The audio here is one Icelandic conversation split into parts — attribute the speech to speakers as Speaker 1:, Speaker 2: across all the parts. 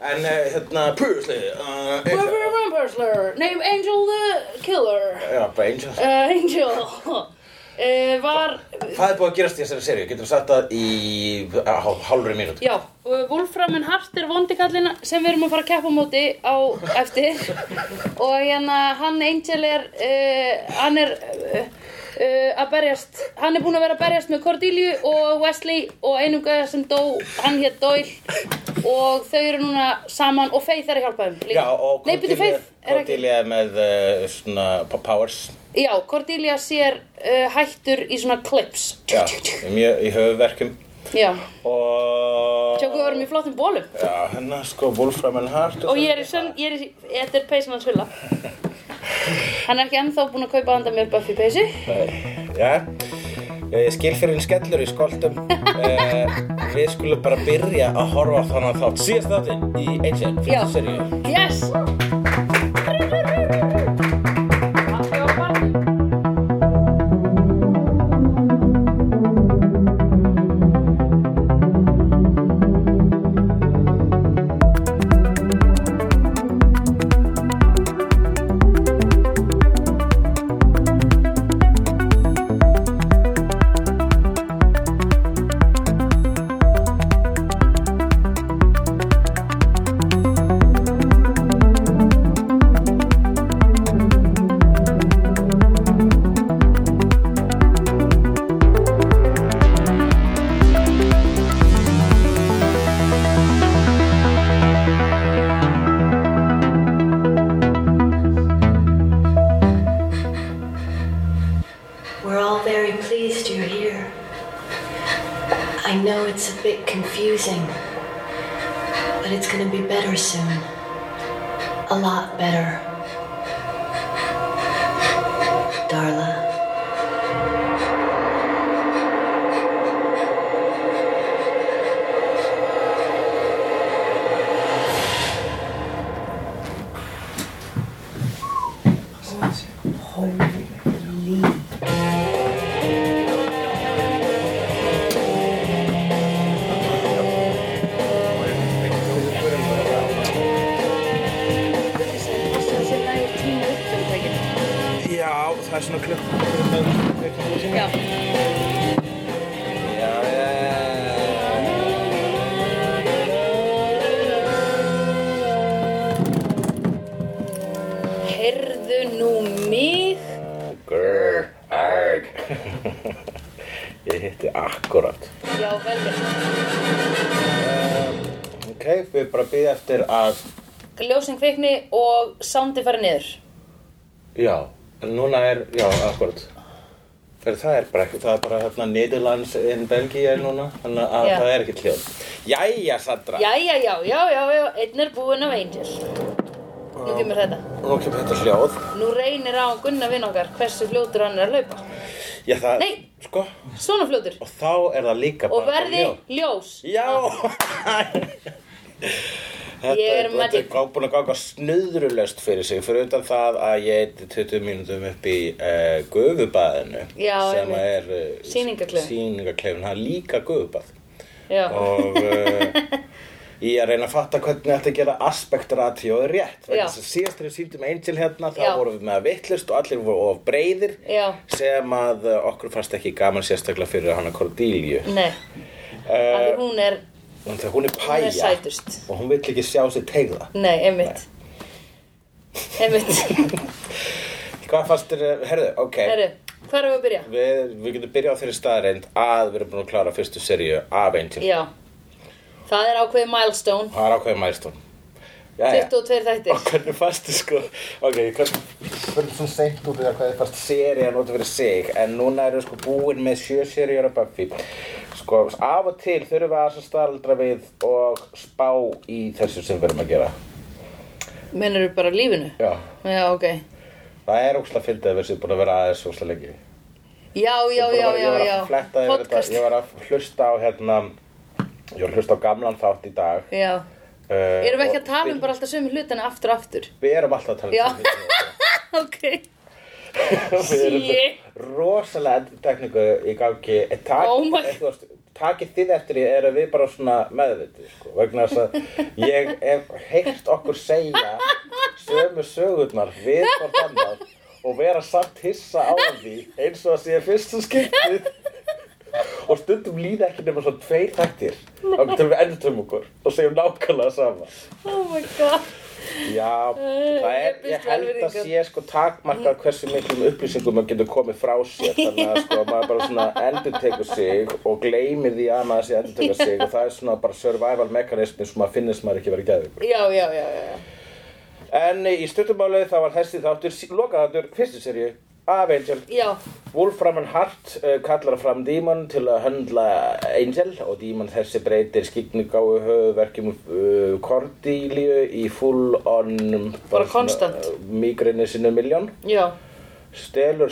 Speaker 1: En eh, hérna, previously uh,
Speaker 2: Vampire
Speaker 1: Angel-
Speaker 2: Vampire Slayer Name Angel the Killer
Speaker 1: Já, bara Angel
Speaker 2: uh, Angel uh, Var
Speaker 1: Hvað er búið að gerast í þessari seríu? Getur þú sagt það í á, hálfri mínútu?
Speaker 2: Já, og Wolframin Hart er vondi kallinn sem við erum að fara að keppa á móti á eftir og hérna hann Angel er uh, hann er uh, uh, að berjast hann er búinn að vera að berjast með Cordelia og Wesley og einum gauða sem dó hann hétt Doyle og þau eru núna saman og Faith er að hjálpa þeim líka.
Speaker 1: Já, og
Speaker 2: Nei, byrju,
Speaker 1: Cordelia,
Speaker 2: Faith er ekki
Speaker 1: Cordelia með uh, svona p- powers
Speaker 2: Já, Cordelia sér uh, hættur í svona clips
Speaker 1: Já, í mjög í höfuverkum
Speaker 2: Já,
Speaker 1: Og
Speaker 2: tjókuðu verðum í flottum bólum
Speaker 1: Já, hérna sko, Wolfram and Heart
Speaker 2: Og ég er í sönn, ég er í, þetta er peysan hans fylla Hann er ekki ennþá búinn að kaupa handa mér Buffy peysu
Speaker 1: Já, ég skil fyrir hinn skellur í skoltum uh, Við skulum bara byrja að horfa á þannig þátt Síðast þáttin í Angel,
Speaker 2: Já.
Speaker 1: fyrstu seríu
Speaker 2: Yes!
Speaker 3: We're all very pleased you're here. I know it's a bit confusing, but it's gonna be better soon. A lot better. Darla.
Speaker 1: Já, það er svona klukk
Speaker 2: Já,
Speaker 1: Já, já,
Speaker 2: heyrðu nú mig
Speaker 1: já Grr, arg Ég hitti akkurat
Speaker 2: Já, vel gert
Speaker 1: Ok, við bara býðum eftir að
Speaker 2: Ljósin kvikni og soundi fara niður
Speaker 1: Já, en núna er, já, akkurat Fyrir það er bara ekki, það er bara hérna Nýðurlands in Belgíu er núna Þannig að
Speaker 2: Já.
Speaker 1: það er ekki hljóð Jæja, Sandra
Speaker 2: Jæja, já, já, já, já, einn er búinn af Angel Nú kemur þetta
Speaker 1: Nú kemur þetta hljóð
Speaker 2: Nú reynir á Gunnar vinn okkar hversu fljótur hann er að laupa
Speaker 1: Já, það,
Speaker 2: Nei.
Speaker 1: sko
Speaker 2: Svona fljótur
Speaker 1: Og þá er það líka
Speaker 2: Og
Speaker 1: bara
Speaker 2: verði
Speaker 1: hljóð.
Speaker 2: ljós
Speaker 1: Já Þetta
Speaker 2: Ég er
Speaker 1: er,
Speaker 2: með
Speaker 1: þetta er gá- búin að ganga snöðrulöst fyrir sig fyrir utan það að ég eyddi 20 mínútum upp í uh, gufubæðinu
Speaker 2: Já,
Speaker 1: sem
Speaker 2: einmitt.
Speaker 1: er uh,
Speaker 2: Sýningarklefinn.
Speaker 1: sýningarklefinn, það er líka gufubæð
Speaker 2: Já.
Speaker 1: og uh, ég er að reyna að fatta hvernig þetta gera aspekt ratio rétt
Speaker 2: Já.
Speaker 1: vegna þess að síðast þegar við sýndum Angel hérna þá
Speaker 2: Já.
Speaker 1: vorum við með að vittlust og allir voru of breyðir
Speaker 2: Já.
Speaker 1: sem að uh, okkur fannst ekki gaman sérstaklega fyrir hana Cordelia Eh,
Speaker 2: Nei, af því hún er,
Speaker 1: Þannig að hún er
Speaker 2: hún
Speaker 1: pæja
Speaker 2: er sætust.
Speaker 1: og hún vill ekki sjá sér tegða.
Speaker 2: Nei, einmitt. Einmitt.
Speaker 1: Hvað fannst þér, herðu, ok,
Speaker 2: Herru, hvað erum við að byrja?
Speaker 1: Við, við getum byrjað á þeirri staðreind að við erum búin að klára fyrstu seríu af Angel.
Speaker 2: Já. Það er ákveðið milestone.
Speaker 1: Það er ákveðið mælstón.
Speaker 2: 22 þættir.
Speaker 1: Og hvernig fannst þið sko, ok, hvernig fyrir svona seint út í það hvað þið fannst serían út fyrir sig, en núna erum við sko búin með sjö seríur af Buffy. Sko, af og til þurfum við að staðaldra við og spá í þessu sem við erum að gera.
Speaker 2: Menur við bara lífinu?
Speaker 1: Já,
Speaker 2: Já, ok.
Speaker 1: það er ógslag fyndið að við séum búin að vera aðeins ógslag lengi.
Speaker 2: Já, já,
Speaker 1: Ég
Speaker 2: já,
Speaker 1: bara-
Speaker 2: já,
Speaker 1: Ég var
Speaker 2: já.
Speaker 1: að fletta yfir þetta, ég var að hlusta á hérna, ég var að hlusta á gamlan þátt í dag.
Speaker 2: Já.
Speaker 1: Uh,
Speaker 2: Erum við ekki
Speaker 1: og
Speaker 2: að tala um
Speaker 1: við-
Speaker 2: bara alltaf sömu hlutina aftur og aftur?
Speaker 1: Við erum alltaf að tala um
Speaker 2: Já.
Speaker 1: sömu hlutina.
Speaker 2: ok.
Speaker 1: Við erum með
Speaker 2: Shit.
Speaker 1: rosalega endurtekningu í gangi Eh, tak,
Speaker 2: Oh my-
Speaker 1: eh, þú veist, takið þið eftir ég er að við bara svona meðvitið sko, vegna þess að ég hef heyrt okkur segja sömu sögurnar við hvort annar og vera samt hissa á því eins og að sé fyrstu skiptið og stundum líða ekki nema svona tveir taktir og til við endurtum okkur og segjum nákvæmlega sama
Speaker 2: Oh my god.
Speaker 1: Já, það er,
Speaker 2: ég
Speaker 1: ég
Speaker 2: býst við
Speaker 1: held að
Speaker 2: alvöringar.
Speaker 1: sé sko takmarkað hversu miklum upplýsingum maður getur komið frá sér þannig að sko maður bara svona endur tekur sig og gleymir því að maður sé endur tekur sig og það er svona bara survival mekanismi sem maður finnist maður ekki verið gæðið
Speaker 2: Já, já, já, já.
Speaker 1: En í stuttumáli það var þessi þáttur, sí- lokaðáttur, fyrstu serju af Angel
Speaker 2: Já,
Speaker 1: Wolfram and Hart uh, kallar fram Dímon til að höndla Angel og Dímon þessi breytir skiknigáu höfuverkjum uh, Cordelia í full on
Speaker 2: Bara constant.
Speaker 1: migrini sinni miljón
Speaker 2: já,
Speaker 1: stelur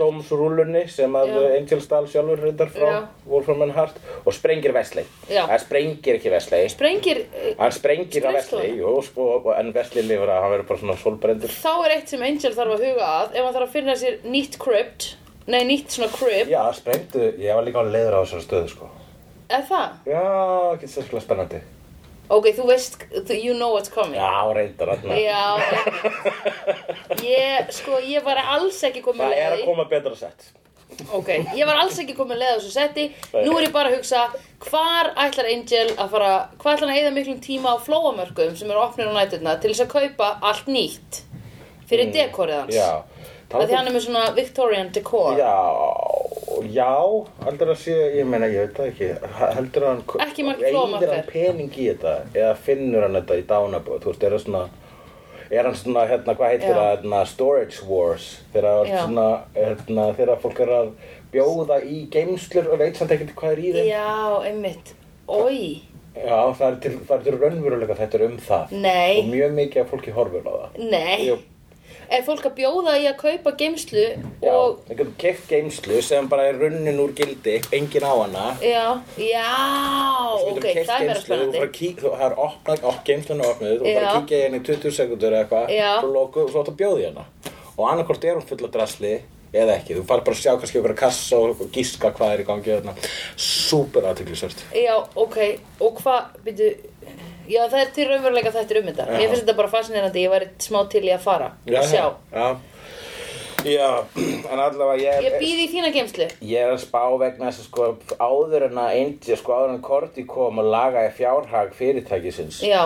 Speaker 1: spádómsrúlunni sem að
Speaker 2: Já.
Speaker 1: Angel stál sjálfur reyndar frá
Speaker 2: Já.
Speaker 1: Wolfram and Hart og sprengir Vesley
Speaker 2: Já.
Speaker 1: hann sprengir ekki Vesley
Speaker 2: sprengir, eh,
Speaker 1: hann sprengir að
Speaker 2: Sprengsluna?
Speaker 1: Vesley jú, sko, og- en Vesley lifur að hann verður bara svona solbrendur
Speaker 2: þá er eitt sem Angel þarf að huga að, ef hann þarf að finna sér nýtt crypt, nei, nýtt svona crypt,
Speaker 1: já, sprengdu, ég var líka á leiður á þessari stöðu sko.
Speaker 2: er það?
Speaker 1: já, ekki sérstaklega spennandi
Speaker 2: Ok, þú veist, þú- you know what's coming.
Speaker 1: Já, reyndar þarna.
Speaker 2: Já, ég, sko, ég var alls ekki komin
Speaker 1: Það
Speaker 2: leið
Speaker 1: er að koma betra sett.
Speaker 2: Ok, ég var alls ekki komin leið á þessu setti Nú er ég bara að hugsa Hvar ætlar Angel að fara Hvað ætlar hann að eyða miklum tíma á flóamörkum sem eru opnir á næturna til þess að kaupa allt nýtt fyrir dekorið hans
Speaker 1: Mm. Já.
Speaker 2: Af því hann er með svona Victorian decor
Speaker 1: Já, já, heldur að sé, ég meina, ég veit það ekki, heldur hann...
Speaker 2: Ekki margt
Speaker 1: Eyðir
Speaker 2: flóamarkaður.
Speaker 1: hann pening í þetta eða finnur hann þetta í dánabóð, þú veist, er það svona... Er hann svona, hérna, hvað heitir
Speaker 2: Já.
Speaker 1: það, hérna, storage wars, þegar það
Speaker 2: Já.
Speaker 1: er svona, hérna, þegar fólk er að bjóða í geimslur og veit samt ekkert hvað er í þeim.
Speaker 2: Já, einmitt Oi,
Speaker 1: Já, það er til, það er til raunveruleika þetta er um það. Og
Speaker 2: nei,
Speaker 1: mjög mikið af fólki horfur á það.
Speaker 2: nei
Speaker 1: Jú.
Speaker 2: Er fólk að bjóða í að kaupa geimslu
Speaker 1: Já,
Speaker 2: og
Speaker 1: einhvern keft geimslu sem bara er runnin úr gildi, engin á hana
Speaker 2: Já, já,
Speaker 1: Þú
Speaker 2: ok,
Speaker 1: getur keypt
Speaker 2: það er verið
Speaker 1: geymslu, þú bara
Speaker 2: spennandi
Speaker 1: kík- þú- Það er opnað, og geimslan er opnuð Þú
Speaker 2: Já.
Speaker 1: bara kíkja í henni í 20 sekundur eða eitthvað
Speaker 2: Já.
Speaker 1: Svo loku, svo áttu að bjóða í hana Og annarkvort er hún full af drasli Eða ekki, þú fari bara að sjá kannski okkur kassa og og giska hvað er í gangi þarna. Súper aðteglisvert
Speaker 2: Já, ok, og hvað, byrju, já það er til raunveruleika þættir um þetta.
Speaker 1: Já.
Speaker 2: Ég finnst þetta bara fascinerandi, ég væri smá til í að fara og sjá.
Speaker 1: Já, já en allavega ég,
Speaker 2: Ég býð í þína geimslu.
Speaker 1: Ég er að spá vegna þess að sko áður en að Angel, sko áður en Korti kom og lagaði fjárhag fyrirtækisins
Speaker 2: Já,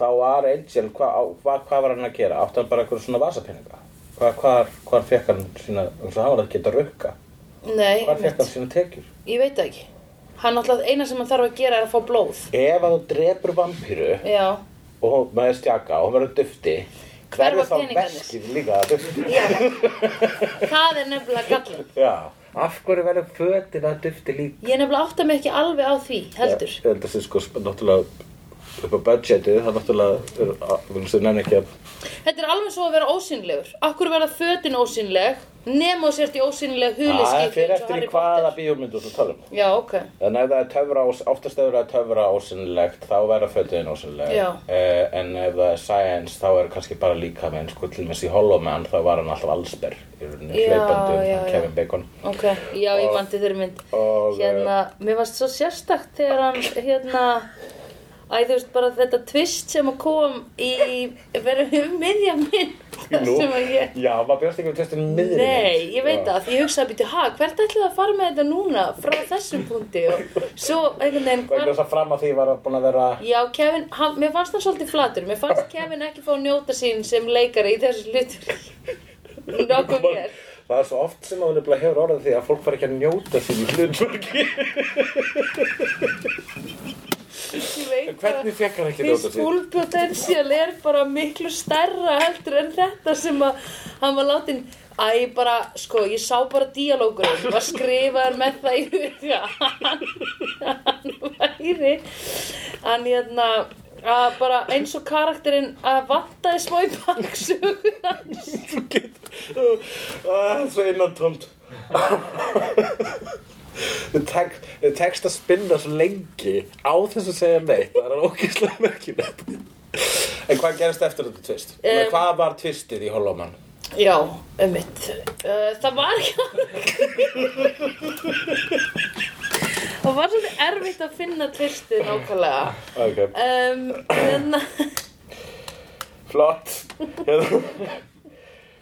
Speaker 1: þá var Angel, hvað hva, hva var hann að gera? Átti hann bara eitthvað svona vasapeninga? Hva, hvar, hvar fekk hann sína, eins og hann var að geta rukka?
Speaker 2: nei,
Speaker 1: Hvar fekk hann
Speaker 2: einmitt.
Speaker 1: sína tekjur?
Speaker 2: ég veit það ekki. Hann alltaf, eina sem hann þarf að gera er að fá blóð.
Speaker 1: Ef að þú drepur vampíru
Speaker 2: Já,
Speaker 1: og hún- með stjaka og hún verður dufti,
Speaker 2: Hvar
Speaker 1: hverju
Speaker 2: var
Speaker 1: þá
Speaker 2: peningarnir?
Speaker 1: veskið líka að dufti?
Speaker 2: já, það er nefnilega gallin.
Speaker 1: Já, af hverju verður fötin að dufti líka?
Speaker 2: Ég nefnilega átta mig ekki alveg á því, heldur.
Speaker 1: Ég held að það sé sko sp- náttúrulega upp á budgetið, það náttúrulega er, að, vil sem nenni ekki að
Speaker 2: Þetta er alveg svo að vera ósynlegur. Akkur verða fötin ósynleg, nema þú sért í ósynleg
Speaker 1: Það
Speaker 2: huliskipti
Speaker 1: er fyrir eftir í hvaða bíómyndu þú tala um.
Speaker 2: Já, ok.
Speaker 1: En ef það er töfra, ós- oftast ef það er töfra ósynlegt, þá verða fötin ósynleg.
Speaker 2: Já.
Speaker 1: Eh, en ef það er science, þá er kannski bara líka með, sko, til og með í Hollow Man, þá var hann alltaf allsber. Í rauninni
Speaker 2: Já,
Speaker 1: hlaupandi um
Speaker 2: já,
Speaker 1: hann,
Speaker 2: já.
Speaker 1: Kevin Bacon.
Speaker 2: Ok, já ég mandi þeirri mynd
Speaker 1: og, eh,
Speaker 2: Hérna, mér varst svo sérstakt þegar hann, hérna Æ, þú veist bara þetta twist sem að kom í verið um miðja mynd
Speaker 1: Nú,
Speaker 2: sem að ég
Speaker 1: já, maður bjóst ekki við testin miðri.
Speaker 2: Nei,
Speaker 1: mynd.
Speaker 2: ég
Speaker 1: Já.
Speaker 2: veit það, því ég hugsaði að býta, ha, hvert ætlaði að fara með þetta núna frá þessum punkti og svo einhvern veginn
Speaker 1: Vegna
Speaker 2: hvar,
Speaker 1: þess að fram að því var hann búin að vera...
Speaker 2: Já, Kevin, hann, mér fannst hann svolítið flatur, mér fannst Kevin ekki fá að njóta sín sem leikari í þessu hlutur Nokkuð mér
Speaker 1: Það er svo oft sem að hún nefnilega hefur orðið því að fólk fara ekki að njóta sín í hlutverki.
Speaker 2: Ég veit það.
Speaker 1: Hvernig fekk hann ekki að
Speaker 2: His
Speaker 1: njóta sín?
Speaker 2: full potential er bara miklu stærra heldur en þetta sem að hann var látin að ég bara, sko, ég sá bara díalógurinn var skrifaður með það í huga hann, hann væri hann hérna að bara eins og karakterinn að vantaði smá í baksuguna
Speaker 1: Þú getur, það er Ah, svo innantómt. Þið tekst, þið tekst að spinna svo lengi á þess að segja neitt, það er ógeðslega merkilegt. En hvað gerist eftir þetta tvist?
Speaker 2: Um,
Speaker 1: Um, hvað var tvistið í Holloman?
Speaker 2: Já, um mitt. það var ekki alveg. það var svolítið erfitt að finna tvistið nákvæmlega.
Speaker 1: Ok,
Speaker 2: Um, en,
Speaker 1: flott. Hérna,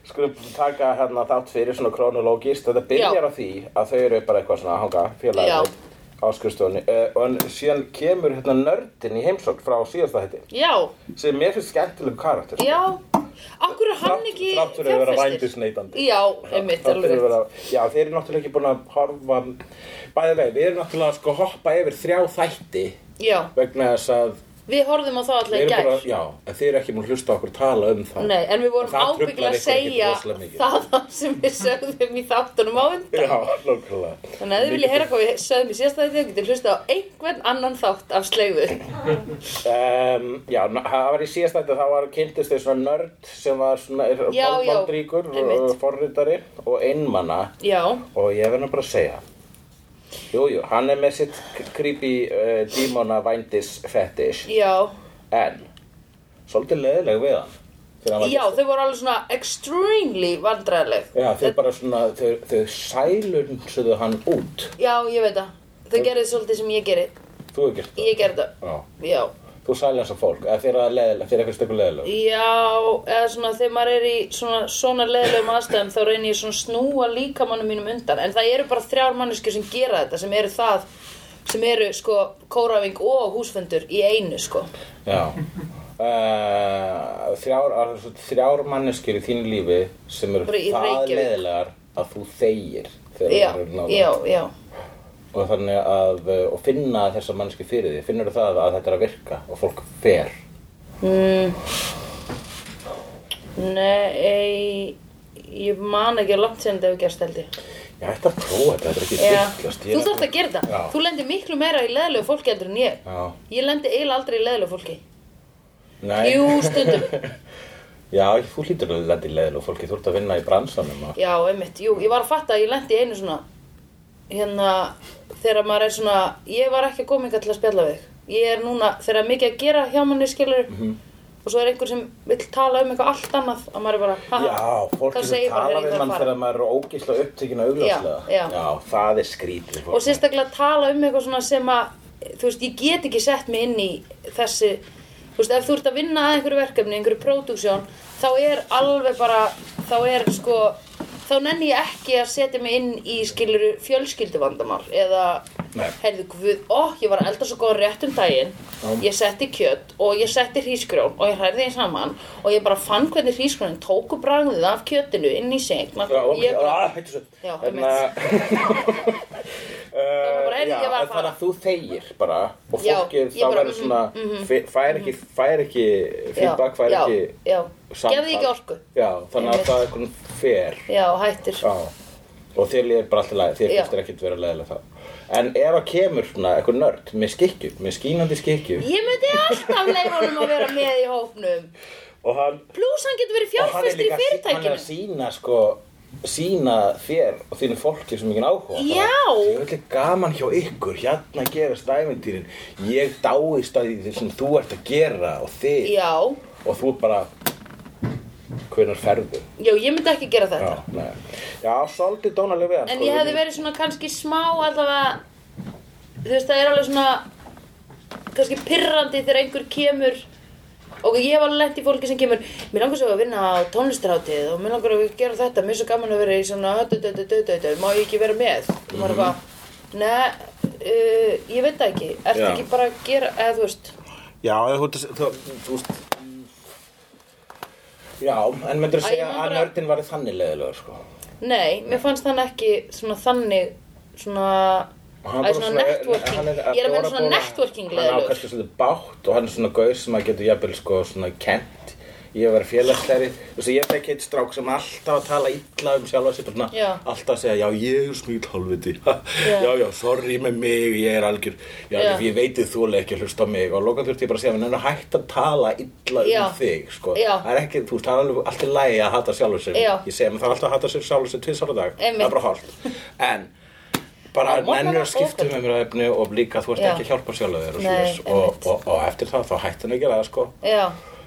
Speaker 1: Skulum taka hérna þátt fyrir svona kronológist. Þetta byrjar
Speaker 2: Já.
Speaker 1: á því að þau eru bara eitthvað svona að hanga félagið á skurstofunni. Uh, og en síðan kemur hérna nördin í heimsókn frá síðasta hætti.
Speaker 2: já,
Speaker 1: Sem mér finnst skemmtileg karakter.
Speaker 2: já. Akkur er hann ekki
Speaker 1: Þrátt fyrir að vera vændisneitandi.
Speaker 2: Já, um mitt,
Speaker 1: Þrátt
Speaker 2: alveg.
Speaker 1: fyrir að
Speaker 2: rétt.
Speaker 1: vera- Já, þeir eru náttúrulega ekki búin að horfa Bæði vei, við erum náttúrulega sko að hoppa yfir þrjá þætti
Speaker 2: Já,
Speaker 1: vegna þess að
Speaker 2: við horfðum á það
Speaker 1: þeir
Speaker 2: alltaf í
Speaker 1: eru
Speaker 2: gær.
Speaker 1: bara, já, en þeir eru ekki múin að hlusta á okkur tala um það
Speaker 2: Nei, en við vorum
Speaker 1: Það truflar
Speaker 2: ábyggla
Speaker 1: ykkur
Speaker 2: að
Speaker 1: ekki
Speaker 2: segja
Speaker 1: rosalega mikið.
Speaker 2: það sem við sögðum í þáttunum á undan.
Speaker 1: Já, nákvæmlega
Speaker 2: Þannig að ef þið viljið heyra hvað við sögðum í síðasta þetta, getið hlusta á einhvern annan þátt af sleifu.
Speaker 1: um, Já, na- það var í síðast þetta þá var kynntist þau svona nörd sem var svona er
Speaker 2: Já, já,
Speaker 1: valdríkur,
Speaker 2: einmitt.
Speaker 1: forritari og einmana
Speaker 2: Já,
Speaker 1: og ég verður bara að segja Jú, jú, hann er með sitt k- creepy uh, dímona vændis fetish
Speaker 2: já,
Speaker 1: En Svolítið leðileg við hann þegar hann var
Speaker 2: já,
Speaker 1: gestur.
Speaker 2: þau voru alveg svona extremely vandræðileg.
Speaker 1: Já, þau bara svona, þau, þau sælunsuðu hann út
Speaker 2: Já, ég veit það. Þau gerði svolítið sem ég geri.
Speaker 1: Þú hefur gert það
Speaker 2: Ég gerði það.
Speaker 1: Já,
Speaker 2: Já,
Speaker 1: þú sælunsa fólk eða þeirra leðileg, þeirra eitthvað stöku leðileg
Speaker 2: já, eða svona þegar maður er í svona, svona leðilegum aðstæðum þá reynir ég svona að snúa líkamannum mínum undan. En það eru bara þrjár manneski sem gera þetta, sem eru það, sem eru sko kóraving og húsfundur í einu sko.
Speaker 1: Já uh, Þrjár, alveg svo þrjár manneskjur í þínu lífi sem eru
Speaker 2: Bara í
Speaker 1: það
Speaker 2: Reykjavík.
Speaker 1: leðilegar að þú þegir
Speaker 2: Já,
Speaker 1: þegar þú eru
Speaker 2: já,
Speaker 1: nálægt
Speaker 2: já.
Speaker 1: og þannig að, uh, og finna þessar manneskjur fyrir því finnur það að þetta er að virka og fólk fer
Speaker 2: Mm. Nei, ég man ekki að langt sem þetta hefur gerst held ég.
Speaker 1: Ég ætti að prófa þetta, þetta er ekki
Speaker 2: Já.
Speaker 1: villast
Speaker 2: Þú þarft að gera þetta.
Speaker 1: Já.
Speaker 2: Þú lendir miklu meira í leðlegu fólki heldur en ég.
Speaker 1: Já,
Speaker 2: Ég lendi eiginlega aldrei í leðlegu fólki.
Speaker 1: nei
Speaker 2: Jú, stundum.
Speaker 1: Já, þú hlýtur að lendi leðil og fólki, þú ert að vinna í bransanum og...
Speaker 2: Já, einmitt. Jú, ég var að fatta að ég lendi í einu svona, hérna, þegar maður er svona, ég var ekki að koma yngar til að spjalla við þig. Ég er núna, þegar er mikið að gera hjá manni skilur,
Speaker 1: Mhm.
Speaker 2: og svo er einhver sem vill tala um eitthvað allt annað, að maður er bara, haha,
Speaker 1: Já, fólk
Speaker 2: þá
Speaker 1: sem
Speaker 2: segir bara,
Speaker 1: tala
Speaker 2: "Heyrðu, ég
Speaker 1: við
Speaker 2: þarf
Speaker 1: mann
Speaker 2: að fara."
Speaker 1: þegar maður er ógísla upptekinn og augljóslega
Speaker 2: Já, já.
Speaker 1: það er skrítið fólk.
Speaker 2: og sérstaklega tala um eitthvað svona sem að þú veist, ég get ekki sett mig inn í þessi, þú veist, ef þú ert að vinna að einhverju verkefni, einhverju pródúksjón þá er alveg bara, þá er sko, þá nenni ég ekki að setja mig inn í skiluru fjölskylduvandamál eða
Speaker 1: Nei.
Speaker 2: Heyrðu, guð, ó, ég var að elda svo góð rétt um daginn
Speaker 1: Já.
Speaker 2: Ég setti kjött og ég setti hrísgrjón og ég hræði þeim saman og ég bara fann hvernig hrísgrjónin tóku bragðið af kjöttinu inn í seng
Speaker 1: Já, ok,
Speaker 2: Ég bara,
Speaker 1: ah, hættu svo.
Speaker 2: Já,
Speaker 1: Hérna,
Speaker 2: var bara,
Speaker 1: Eh,
Speaker 2: heyrðu,
Speaker 1: já,
Speaker 2: ég var að
Speaker 1: en þannig
Speaker 2: fara.
Speaker 1: að þú þegir bara og
Speaker 2: Já,
Speaker 1: fólkið
Speaker 2: ég
Speaker 1: þá
Speaker 2: bara, mm, mhm.
Speaker 1: verður svona fe- fær ekki, fær ekki feedback, fær
Speaker 2: já,
Speaker 1: ekki
Speaker 2: já, já.
Speaker 1: samtal.
Speaker 2: gefði ekki orku
Speaker 1: Já, þannig að
Speaker 2: Einmitt.
Speaker 1: það er einhvern fer
Speaker 2: já, hættir
Speaker 1: Já, og þér líður bara alltaf leið, þér
Speaker 2: Já.
Speaker 1: finnst þér ekkert vera leiðilega þá. En ef að kemur svona eitthvað nörd með skikju, með skínandi skikju
Speaker 2: ég myndi alltaf leið honum að vera með í hópnum
Speaker 1: og hann,
Speaker 2: pluss hann getur verið
Speaker 1: og hann er
Speaker 2: fjárfæstur
Speaker 1: líka
Speaker 2: í
Speaker 1: hann er
Speaker 2: fyrirtækinu
Speaker 1: að sína sko sína þér og þínu fólki sem ekki áhuga
Speaker 2: Já.
Speaker 1: Ég vil gaman hjá ykkur, hérna gerast æventýrin Ég dáist að því sem þú ert að gera og þig
Speaker 2: já,
Speaker 1: Og þú bara, hvenær ferðu?
Speaker 2: já, ég myndi ekki gera
Speaker 1: Já,
Speaker 2: þetta
Speaker 1: nei. Já, svolítið dónaleg við hann
Speaker 2: en
Speaker 1: sko,
Speaker 2: ég hefði
Speaker 1: við-
Speaker 2: verið svona kannski smá allavega þú veist, það er alveg svona kannski pirrandi þegar einhver kemur og ég hef alveg lent í fólki sem kemur mér langar svo að vinna á tónlistarháttið og mér langar að gera þetta, mér er svo gaman að vera í svona dö, dö, dö, dö, dö, dö, má ég ekki vera með og
Speaker 1: Mhm.
Speaker 2: maður er bara, ne uh, ég veit það ekki, ertu
Speaker 1: Já.
Speaker 2: ekki bara að gera eða þú veist,
Speaker 1: Já, ef þú, þú, þú, þú veist Já, en myndur
Speaker 2: Æ,
Speaker 1: að segja
Speaker 2: ég man
Speaker 1: að
Speaker 2: bara-
Speaker 1: nördin var þannig leiðilegur sko
Speaker 2: nei, mér fannst þann ekki svona þannig svona,
Speaker 1: Hann
Speaker 2: að
Speaker 1: bara
Speaker 2: svona
Speaker 1: hann
Speaker 2: networking ég er að meina svona
Speaker 1: bóla-
Speaker 2: networking
Speaker 1: Hann á
Speaker 2: leðilegur
Speaker 1: kannski svona bátt og hann er svona gauð sem að getur jafnvel sko svona kent Ég var félagsleiri, þú veist, ég fekk eitt strák sem alltaf að tala illa um sjálfa sig, bara svona,
Speaker 2: Já.
Speaker 1: alltaf að segja, já, ég er smíl hálfviti, já, já, sorry með mig, ég er algjör, já,
Speaker 2: Já.
Speaker 1: ég veitið þú alveg ekki að hlusta á mig og loka þurfti ég bara að segja, menn er hægt að tala illa
Speaker 2: Já.
Speaker 1: um þig, sko,
Speaker 2: Já.
Speaker 1: það er ekki, þú veist, það er alveg alltaf lægi að hata sjálfa sig,
Speaker 2: Já.
Speaker 1: ég segja, menn það er alltaf að hata sig sjálfa sig tvisar á dag, það
Speaker 2: Einmitt.
Speaker 1: er bara hálft, en bara
Speaker 2: Á morgnana
Speaker 1: mennur að
Speaker 2: og
Speaker 1: skipta um
Speaker 2: kvöldin.
Speaker 1: umræðefni og líka þú ert
Speaker 2: Já.
Speaker 1: ekki að hjálpa sjálf þér og,
Speaker 2: Nei,
Speaker 1: svoleiðis. og,
Speaker 2: einmitt.
Speaker 1: og, og eftir það þá hætti hann að gera það sko
Speaker 2: já,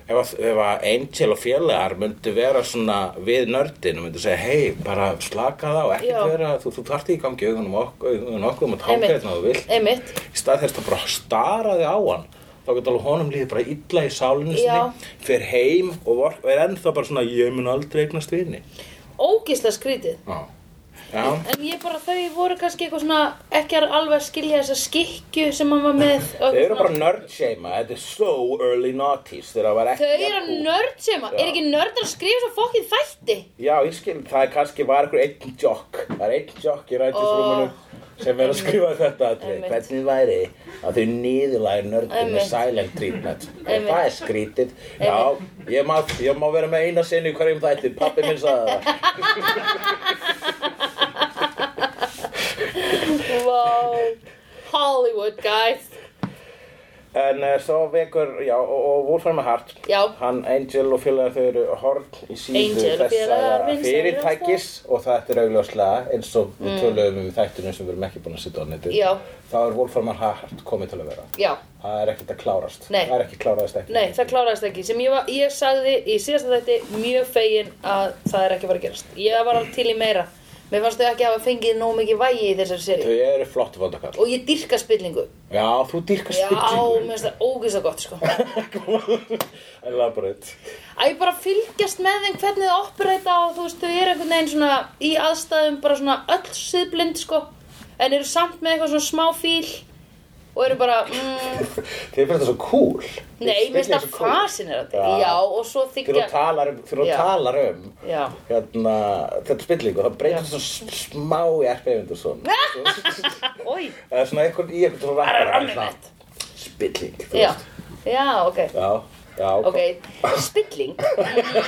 Speaker 1: ef, að- ef að Angel og félagar myndu vera svona við nördin og myndu segja hei, bara slaka það og
Speaker 2: Já.
Speaker 1: ekkert vera þú, þú þarft ekki í gangi augunum okkur, augunum okkur og
Speaker 2: Einmitt.
Speaker 1: táka þetta og þú vilt
Speaker 2: einmitt
Speaker 1: í stað þess að bara staraði á hann þá getur alveg honum líðið bara illa í sálinu
Speaker 2: Já.
Speaker 1: sinni, fer heim og vor- og er ennþá bara svona, ég mun aldrei eignast vini
Speaker 2: ógislega skrítið
Speaker 1: Já, já,
Speaker 2: en ég bara þau voru kannski eitthvað svona ekki alveg að skilja þessa skikju sem hann var með
Speaker 1: þau
Speaker 2: og eitthvað
Speaker 1: eru bara
Speaker 2: svona-
Speaker 1: nördseima, þetta er so early noughties þegar það var ekki
Speaker 2: þau eru
Speaker 1: jafn-
Speaker 2: nörd sem
Speaker 1: Já.
Speaker 2: að, er ekki nörd að skrifa svo fokkin þætti
Speaker 1: Já, ég skil, það er kannski var einhver einn jokk, það er einn jokk í rættisrúmunum sem er að skrifa þetta atrið.
Speaker 2: Einmitt.
Speaker 1: Hvernig væri að þau niðurlægir nördin með
Speaker 2: Einmitt.
Speaker 1: silent treatment? En
Speaker 2: Einmitt.
Speaker 1: það er skrítið. Já, ég má, ég má vera með eina sinni í hverjum þætti, pappi minn sagði það.
Speaker 2: wow Hollywood guys
Speaker 1: En uh, svo vekur, já, og, og Wolfram er hart.
Speaker 2: Já.
Speaker 1: Hann, Angel og félagar, þau eru horn í síðu
Speaker 2: Angel og félagar,
Speaker 1: þessara
Speaker 2: vinsælir og
Speaker 1: fyrirtækis og þetta er augljóslega eins og við töluðum um í þættunum sem við erum ekki búin að sitja á netið.
Speaker 2: Já.
Speaker 1: Þá er Wolfram hart komið til að vera.
Speaker 2: já
Speaker 1: Það er ekkert að klárast.
Speaker 2: Nei.
Speaker 1: Það er ekki kláraðist ekki.
Speaker 2: Nei, það kláraðist ekki, sem ég, var, ég sagði í síðasta þætti mjög fegin að það er ekki að fara að gerast. Ég var alveg til í meira. Mér fannst þau ekki hafa fengið nóg mikið vægi í þessari
Speaker 1: Þau
Speaker 2: seri.
Speaker 1: eru flott vondakall.
Speaker 2: Og ég dyrka spillingu.
Speaker 1: Já, þú dyrkar
Speaker 2: Já, mér
Speaker 1: spillingu.
Speaker 2: finnst það ógeðslega gott, sko.
Speaker 1: I love
Speaker 2: Að ég bara fylgjast með þeim hvernig þau opereita og þú veist, þau eru einhvern veginn svona í aðstæðum bara svona öll siðblind, sko. En eru samt með eitthvað svona smá fíl og eru bara, mm,
Speaker 1: Þið finnst það svo cool.
Speaker 2: nei, mér finnst það
Speaker 1: fast.
Speaker 2: fascinerandi.
Speaker 1: Já.
Speaker 2: Já, og svo
Speaker 1: Þegar
Speaker 2: þykja,
Speaker 1: þú talar um, þegar
Speaker 2: Já.
Speaker 1: þú talar um
Speaker 2: já,
Speaker 1: hérna, þetta spillingu, það breytist
Speaker 2: Já.
Speaker 1: svo sm- smá í Erfi Evindursson.
Speaker 2: oi,
Speaker 1: Það er svona einhvern í einhvern svona
Speaker 2: það er
Speaker 1: rappar.
Speaker 2: rammið mitt.
Speaker 1: Spilling, þú
Speaker 2: Já,
Speaker 1: veist.
Speaker 2: já, ok,
Speaker 1: Já, já.
Speaker 2: ok, spilling,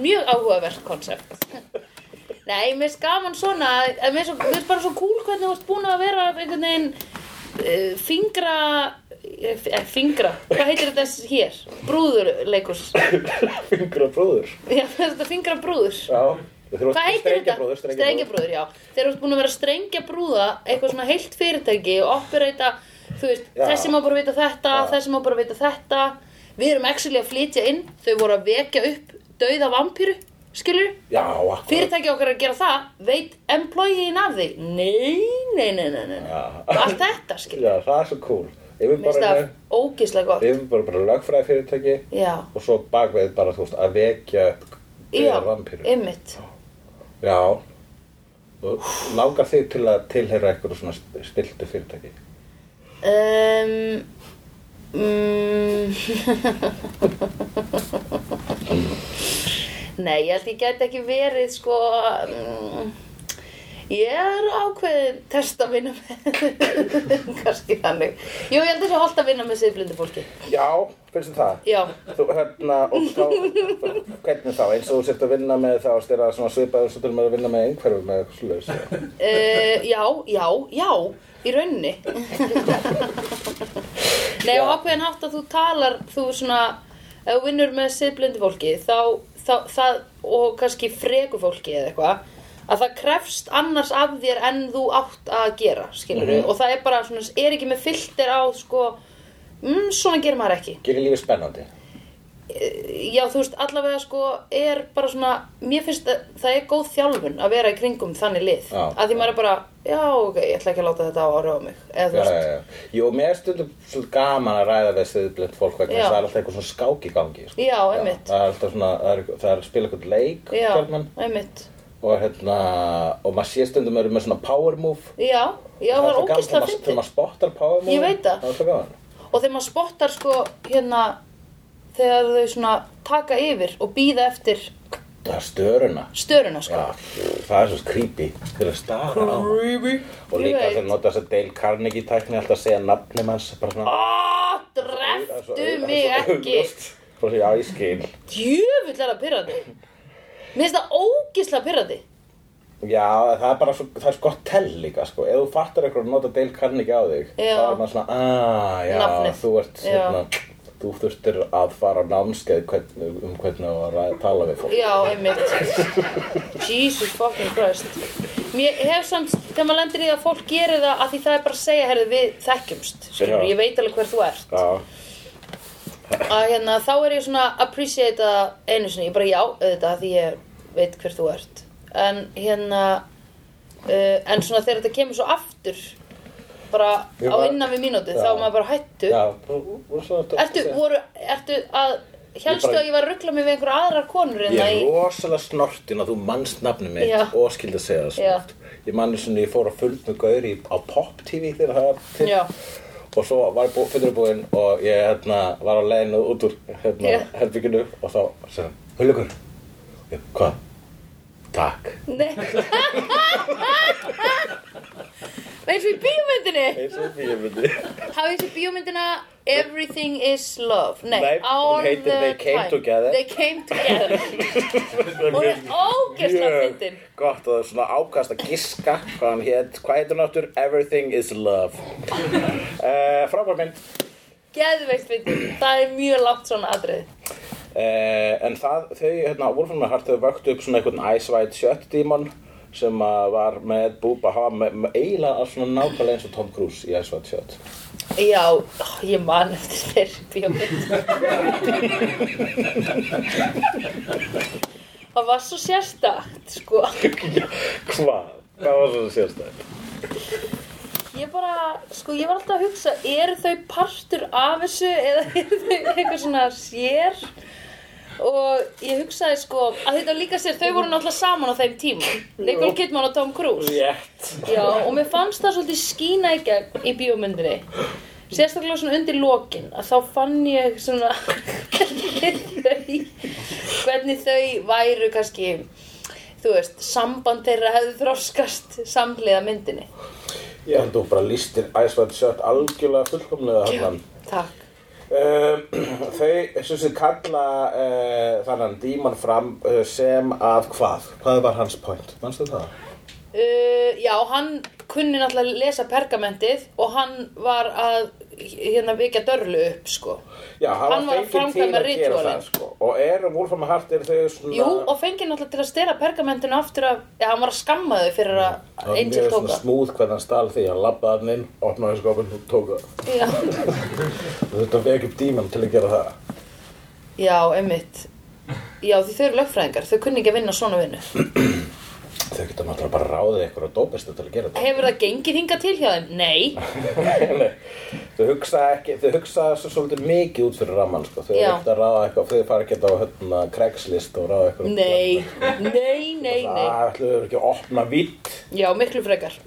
Speaker 2: mjög áhugavert konsept. Nei, mér finnst gaman svona, að mér er, svo, mér er bara svo cool hvernig þú ert búin að vera einhvern veginn uh, fingra, eh, fingra, hvað heitir þetta hér? Brúðurleikus,
Speaker 1: Fingur og bróður.
Speaker 2: já, þetta fingra brúður.
Speaker 1: Já.
Speaker 2: Hvað heitir þetta?
Speaker 1: Strengjabrúður,
Speaker 2: Strengjabrúður, já. Þeir eru búin að vera að strengja brúða eitthvað svona heilt fyrirtæki og opereita, þú veist,
Speaker 1: Já.
Speaker 2: þessi má bara vita þetta,
Speaker 1: Já.
Speaker 2: þessi má bara vita þetta. Við erum actually að flytja inn, þau voru að vekja upp dauða vampíru, skilur?
Speaker 1: Já, akkurat.
Speaker 2: Fyrirtæki okkar er að gera það, veit employeein af því? Nei, nei, nei, nei, nei. nei.
Speaker 1: Já.
Speaker 2: Allt þetta, skilur.
Speaker 1: Já, það er svo cool. Ég vil
Speaker 2: Mér finnst
Speaker 1: bara,
Speaker 2: það ógíslega gott.
Speaker 1: ég vil bara, bara lögfræði fyrirtæki.
Speaker 2: Já,
Speaker 1: og svo bakveið bara þú veist að vekja upp
Speaker 2: já,
Speaker 1: dauða vampíru
Speaker 2: ymmit.
Speaker 1: já og langar þig til að tilheyra einhverju svona stiltu fyrirtæki
Speaker 2: Um, mm, Nei, ég held ég gæti ekki verið sko mm, Ég er ákveðin test að vinna með kannski þannig Jú, ég held þess að holdt að vinna með siðblindu fólki
Speaker 1: já, finnst þið það
Speaker 2: Já,
Speaker 1: þú hérna og þá hvernig þá eins og þú sért að vinna með þá styrra svona svipaður svo til maður að vinna með einhverju með eh, eitthvað slúðis
Speaker 2: uh, já, já, já í raunni Nei,
Speaker 1: Já.
Speaker 2: og ákveðin hátt að þú talar þú svona, ef þú vinnur með siðblindu fólki þá, þá, það og kannski freku fólki eða eitthvað að það krefst annars af þér en þú átt að gera, skilur
Speaker 1: Mhm.
Speaker 2: og það er bara svona, er ekki með filter á sko, mm, svona gerir maður ekki
Speaker 1: gerir lífið spennandi
Speaker 2: já, þú veist, allavega sko er bara svona, mér finnst að það er góð þjálfun að vera í kringum þannig lið
Speaker 1: Já.
Speaker 2: að því maður er bara, já, ok, ég ætla ekki að láta þetta á ára á mig eða þú
Speaker 1: já, já,
Speaker 2: veist,
Speaker 1: já. jú, mér er stundum svolítið gaman að ræða við sviðblind fólk vegna
Speaker 2: Já.
Speaker 1: þess að það er alltaf eitthvað svona skák í gangi sko.
Speaker 2: Já, einmitt.
Speaker 1: það er alltaf svona, það er, það er að spila eitthvað leik
Speaker 2: já,
Speaker 1: gjarnan.
Speaker 2: einmitt
Speaker 1: og hérna og maður sé stundum eru með svona power move
Speaker 2: já, já, það er
Speaker 1: alltaf gaman þegar
Speaker 2: ógislega
Speaker 1: maður-
Speaker 2: fyndið
Speaker 1: þegar maður spottar power move
Speaker 2: Ég veit það.
Speaker 1: það er alltaf gaman
Speaker 2: og þegar maður spottar sko hérna þegar þau svona taka yfir og býða eftir
Speaker 1: það er störuna
Speaker 2: störuna sko
Speaker 1: Já, það er svo creepy þegar það stara
Speaker 2: Hm.
Speaker 1: á mann. og
Speaker 2: Ég
Speaker 1: líka
Speaker 2: veit.
Speaker 1: þegar nota þess að Dale Carnegie tækni alltaf að segja nafnum hans bara svona
Speaker 2: Ó,
Speaker 1: það er svo-
Speaker 2: dreftu
Speaker 1: það er
Speaker 2: mig
Speaker 1: svo
Speaker 2: ekki
Speaker 1: augljóst. bara svona já ég skil
Speaker 2: djöfull er það pyrrandi mér finnst það ógislega pyrrandi
Speaker 1: já það er bara svo það er svo gott tell líka sko ef þú fattar eitthvað að nota Dale Carnegie á þig
Speaker 2: Já.
Speaker 1: þá er maður svona aaa já
Speaker 2: Nafnið.
Speaker 1: þú ert
Speaker 2: Já.
Speaker 1: hérna þú þurftir að fara á námskeið hvern, um hvernig á að ræ- tala við fólk
Speaker 2: Já, einmitt Jesus fucking Christ Mér hef samt, þegar maður lendir í því að fólk gerir það að því það er bara að segja, herðu, við þekkjumst skilur,
Speaker 1: Já.
Speaker 2: ég veit alveg hver þú ert
Speaker 1: Já,
Speaker 2: að hérna, þá er ég svona að appreciate það einu sinni, ég bara já, auðvitað, því ég veit hver þú ert. En hérna, uh, en svona þegar þetta kemur svo aftur, bara
Speaker 1: Ég
Speaker 2: á
Speaker 1: bara-
Speaker 2: innan við mínútu,
Speaker 1: Já.
Speaker 2: þá er maður bara hættu.
Speaker 1: Já, og- og svo ertu
Speaker 2: Ertu, voru, ertu að,
Speaker 1: Ég
Speaker 2: hélstu
Speaker 1: bara-
Speaker 2: að ég var að ruggla mig við einhverja aðrar konur
Speaker 1: Ég
Speaker 2: hérna
Speaker 1: er
Speaker 2: í...
Speaker 1: rosalega snortin að þú manst nafnum mitt
Speaker 2: Já.
Speaker 1: og skild að segja það
Speaker 2: Já.
Speaker 1: snort. Ég manni svona, ég fór á fullt með gauri á Pop TV þegar það var til
Speaker 2: Já.
Speaker 1: og svo var ég fyrirbúinn og ég hérna, var á leiðinu út úr hérna,
Speaker 2: Já.
Speaker 1: herbygginu og þá sagði hann, Hullugur, ég, hvað? Takk.
Speaker 2: Nei. eins og í bíómyndinni
Speaker 1: Eins og því ég myndi.
Speaker 2: hafið þessi bíómyndina Everything is Love Nei,
Speaker 1: Nei, hún
Speaker 2: All
Speaker 1: heitir
Speaker 2: the
Speaker 1: They Came
Speaker 2: Time.
Speaker 1: Together.
Speaker 2: They Came Together Hún er ógeðslega fyndin.
Speaker 1: Gott að það er svona ákast að giska hvað hann hétt, hvað heitir hann áttur? Everything is love. uh, frábær mynd.
Speaker 2: Geðveikt fyndin, það er mjög langt svona atrið
Speaker 1: Eh, en það, þau, hérna, Wolfram and Hart, þau vöktu upp svona einhvern Ice White Shut Demon sem að var með búba, hann var með, með eiginlega svona nákvæmlega eins og Tom Cruise í Ice White Shut.
Speaker 2: Já, ó, ég man eftir þeirri bíómynd Það var svo sérstakt, sko
Speaker 1: Hvað? Hvað var svona sérstæð?
Speaker 2: Ég bara, sko, ég var alltaf að hugsa, eru þau partur af þessu eða eru þau eitthvað svona sér? Og ég hugsaði, sko, að þetta var líka sér, þau voru náttúrulega saman á þeim tíma. Nicole Kidman og Tom Cruise.
Speaker 1: Rétt.
Speaker 2: Já, og mér fannst það svolítið skína í gegn í bíómyndinni. Sérstaklega svona undir lokin, að þá fann ég svona hvernig þau, hvernig þau væru kannski, þú veist, samband þeirra hefðu þroskast samhliða myndinni.
Speaker 1: Ég held að þú bara lístir Ice White Shut algjörlega fullkomlega hann.
Speaker 2: Takk.
Speaker 1: Um, þau sem sem kalla uh, þannan díman fram uh, sem að hvað? Hvað var hans point? Manstu það?
Speaker 2: Uh, já, hann kunni náttúrulega að lesa pergamentið og hann var að hérna vikja dörlu upp, sko.
Speaker 1: Já, hann,
Speaker 2: Hann var að
Speaker 1: fenginn til
Speaker 2: framkvæma
Speaker 1: að gera
Speaker 2: ritualin.
Speaker 1: það sko. Og eru Wolfram and Hart, eru þau svona
Speaker 2: Jú, og fengi náttúrulega til að stela pergamentinu aftur að, já, hann var að skamma þau fyrir að
Speaker 1: Það var
Speaker 2: Angel
Speaker 1: mjög
Speaker 2: tóka.
Speaker 1: svona smúð hvernig hann stal því hann labbaði hann inn, opnaði skopin og tóka
Speaker 2: Já,
Speaker 1: Þetta vek upp díman til að gera það
Speaker 2: já, einmitt. Já, því þau eru lögfræðingar, þau kunni ekki að vinna svona vinnu.
Speaker 1: Þau geta náttúrulega bara ráðið ykkur að dópist til að gera
Speaker 2: Hefur það gengið hingað til hjá þeim? Nei.
Speaker 1: þetta Nei, Þau hugsa ekki, þau hugsa svo svolítið mikið út fyrir ramman sko. Þau
Speaker 2: Já.
Speaker 1: eru ekkert að ráða eitthvað, þau fara ekkert á hérna, kregslist og ráða eitthvað um
Speaker 2: Nei, nei, nei, nei.
Speaker 1: Það ætlum við ekki að opna vitt
Speaker 2: Já, miklu frekar.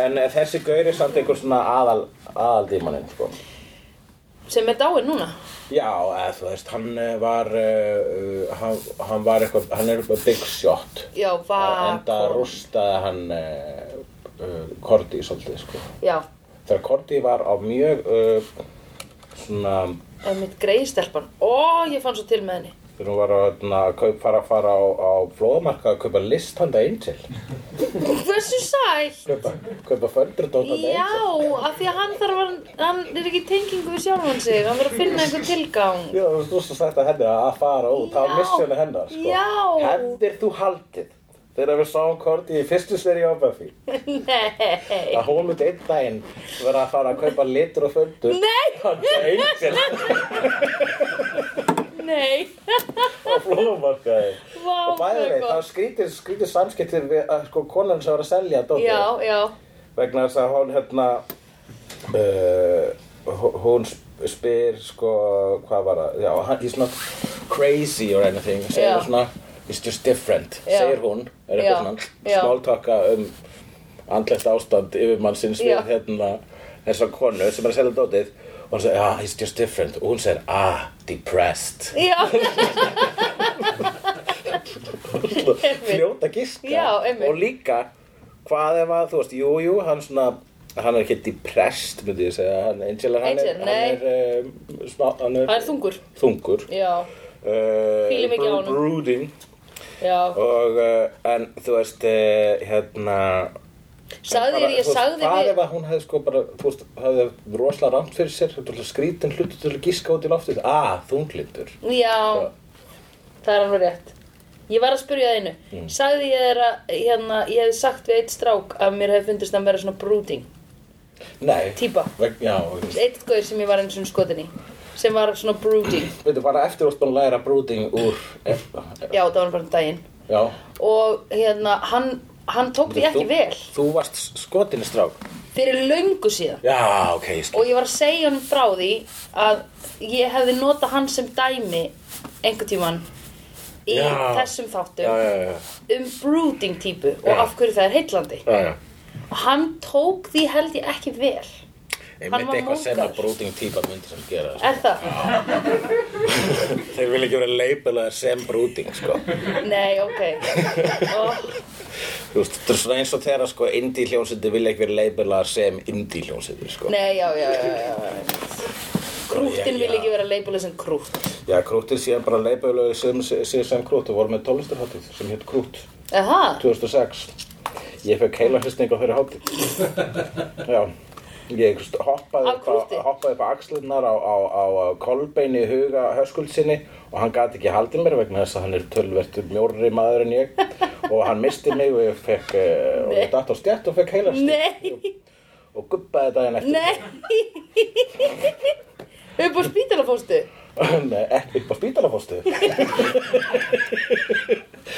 Speaker 1: En eh, þessi gaur er samt einhver svona aðal, aðal dímaninn sko.
Speaker 2: Sem er dáin núna.
Speaker 1: Já, eða þú veist, hann eh, var, uh, hann, hann var eitthvað, hann er eitthvað big shot.
Speaker 2: Já,
Speaker 1: Og
Speaker 2: hvað?
Speaker 1: Enda rústaði hann uh, uh, Korti svolítið, sko.
Speaker 2: Já,
Speaker 1: Þegar Korti var á mjög, uh, svona,
Speaker 2: einmitt greiðstelpan. Ó, ég fann svo til með henni.
Speaker 1: þegar hún var að hérna, kaup, fara að fara á, á flóðmarka að kaupa list handa Angel.
Speaker 2: Hversu sæl?
Speaker 1: Kaupa, kaupa földurdótt handa
Speaker 2: Já,
Speaker 1: Angel.
Speaker 2: af því að hann þarf að, hann er ekki í tengingu við sjálfan sig, hann verður að finna einhver tilgang.
Speaker 1: Já, þú veist, þú svo sagt að henni að fara út, það var
Speaker 2: Já.
Speaker 1: missjónu hennar, sko.
Speaker 2: Já.
Speaker 1: Hefðir þú haldið þegar við sáum Korti í fyrstu seri á Buffy?
Speaker 2: Nei,
Speaker 1: að hún myndi einn daginn vera að fara að kaupa litur og földur
Speaker 2: Nei!
Speaker 1: hann er enginn
Speaker 2: nei,
Speaker 1: á flómarkaði
Speaker 2: vá,
Speaker 1: og bæði
Speaker 2: það er
Speaker 1: veit, það
Speaker 2: gott.
Speaker 1: skrítir, skrítir samskiptir við að sko konan sem var að selja dótið
Speaker 2: Já, já,
Speaker 1: vegna þess að hún hérna uh, hún sp- spyr sko hvað var það, já, hann- he's not crazy or anything, segir
Speaker 2: Já.
Speaker 1: yeah. svona it's just different,
Speaker 2: Já.
Speaker 1: segir hún er
Speaker 2: Já.
Speaker 1: eitthvað
Speaker 2: Já.
Speaker 1: svona smáltaka um andlegt ástand yfirmannsins
Speaker 2: Já.
Speaker 1: við hérna þessa konu sem er að selja dótið og hann segir, ah, he's just different og hún segir, ah, depressed
Speaker 2: já,
Speaker 1: fljóta giska
Speaker 2: Já, einmitt.
Speaker 1: og líka hvað ef að þú veist, jú, jú, hann svona hann er ekki depressed, myndi ég segja hann, Angel, hann
Speaker 2: Angel,
Speaker 1: er, hann er, um, smá, hann er
Speaker 2: hann er þungur,
Speaker 1: þungur
Speaker 2: já,
Speaker 1: uh,
Speaker 2: Hvílum ekki á honum. Oh.
Speaker 1: brooding
Speaker 2: já.
Speaker 1: og, uh, en þú veist uh, hérna
Speaker 2: Sagði
Speaker 1: bara,
Speaker 2: þér, ég
Speaker 1: þú veist,
Speaker 2: sagði
Speaker 1: hvað
Speaker 2: við,
Speaker 1: ef að hún hefði sko bara, þú veist, hefði rosalega rámt fyrir sér, þú veist, skrítin hlutu til að giska út í loftið, ah, þunglindur
Speaker 2: já, það er alveg rétt. Ég var að spyrja það einu, sagði ég þér að, hérna, ég hefði sagt við eitt strák að mér hefði fundist að vera svona brooding,
Speaker 1: nei,
Speaker 2: típa.
Speaker 1: veg, já,
Speaker 2: eitt gauð sem ég var eins og skotin í sem var svona brooding
Speaker 1: Veitu, bara eftir úrst búin að læra brooding úr eh,
Speaker 2: já, það var bara um daginn
Speaker 1: Já
Speaker 2: og hérna, hann, hann tók því ekki
Speaker 1: Þú-
Speaker 2: vel
Speaker 1: Þú varst skotinni strák
Speaker 2: fyrir löngu síðan
Speaker 1: Já, ok, ég skil
Speaker 2: og ég var að segja honum frá því að ég hefði notað hann sem dæmi einhvern tíman í
Speaker 1: Já.
Speaker 2: þessum þáttum
Speaker 1: Já, já, já,
Speaker 2: um brooding típu og
Speaker 1: Já.
Speaker 2: af hverju það er heillandi
Speaker 1: já, já.
Speaker 2: og hann tók því held ég ekki vel
Speaker 1: Ég
Speaker 2: Hann
Speaker 1: myndi
Speaker 2: var
Speaker 1: eitthvað sem að
Speaker 2: móðgaður.
Speaker 1: brooding típa myndi sem gera það
Speaker 2: er það?
Speaker 1: sko. Þeir vilja ekki vera leipilaðir sem brooding sko.
Speaker 2: nei, ok Oh, og,
Speaker 1: Þú veist, þetta er svona eins og þegar sko, indie hljónsindi vilja ekki vera leipilaðir sem indie hljónsindi sko.
Speaker 2: nei, já, já, já, já, já. krúttin vil ekki vera leibulega sem krútt
Speaker 1: Já, krúttir síðan bara leipilaðir sem, sem, sem krútt og voru með tónlistarháttið sem hétt krútt
Speaker 2: eða,
Speaker 1: 2006 Ég fekk heila hlustninga fyrir háttið Já Ég hoppaði
Speaker 2: Á
Speaker 1: upp,
Speaker 2: krútti?
Speaker 1: á, hoppaði upp á axlirnar á, á, á kolbeini huga höskuldsinni og hann gati ekki haldið mér vegna þess að hann er tölvert mjórri maður en ég og hann misti mig og ég fekk eh, og ég datt á stjætt og fekk heila
Speaker 2: nei,
Speaker 1: og gubbaði daginn eftir
Speaker 2: nei upp á spítalafóstu
Speaker 1: Nei, ekki upp á spítalafóstu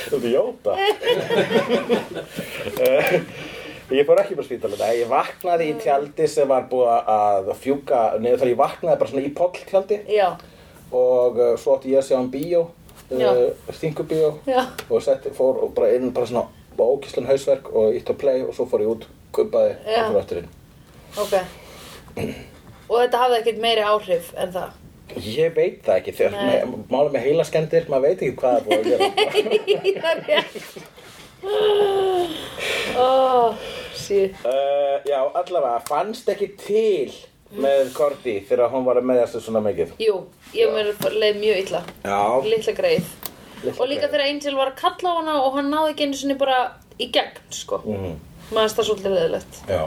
Speaker 1: Þú ert jóta Eh, Ég fór ekki upp á spítala Nei, ég vaknaði í tjaldi sem var búið að fjúka niður þar ég vaknaði bara svona í poll tjaldi
Speaker 2: já,
Speaker 1: og uh, svo átti ég að sjá um bíó
Speaker 2: Já.
Speaker 1: uh, stingubíó
Speaker 2: Já.
Speaker 1: og setti, fór og bara inn bara svona ókíslan hausverk og ítt á play og svo fór ég út, kubbaði
Speaker 2: Já.
Speaker 1: og fór aftur inn
Speaker 2: ok og þetta hafði ekkert meiri áhrif en það
Speaker 1: Ég veit það ekki, þegar
Speaker 2: Nei.
Speaker 1: með- málum með heilaskendir, maður veit ekki hvað er búið að gera
Speaker 2: það er rétt oh, shit
Speaker 1: Uh, já, allavega, fannst ekki til með Korti þegar hún var að meðast svona mikið.
Speaker 2: Jú, ég mér leið mjög illa
Speaker 1: Já.
Speaker 2: Lilla greið
Speaker 1: Litla
Speaker 2: Og líka
Speaker 1: greið.
Speaker 2: þegar Angel var að kalla á hana og hann náði ekki einu sinni bara í gegn sko. mm.
Speaker 1: Mhm.
Speaker 2: maður það svolítið leðilegt
Speaker 1: Já.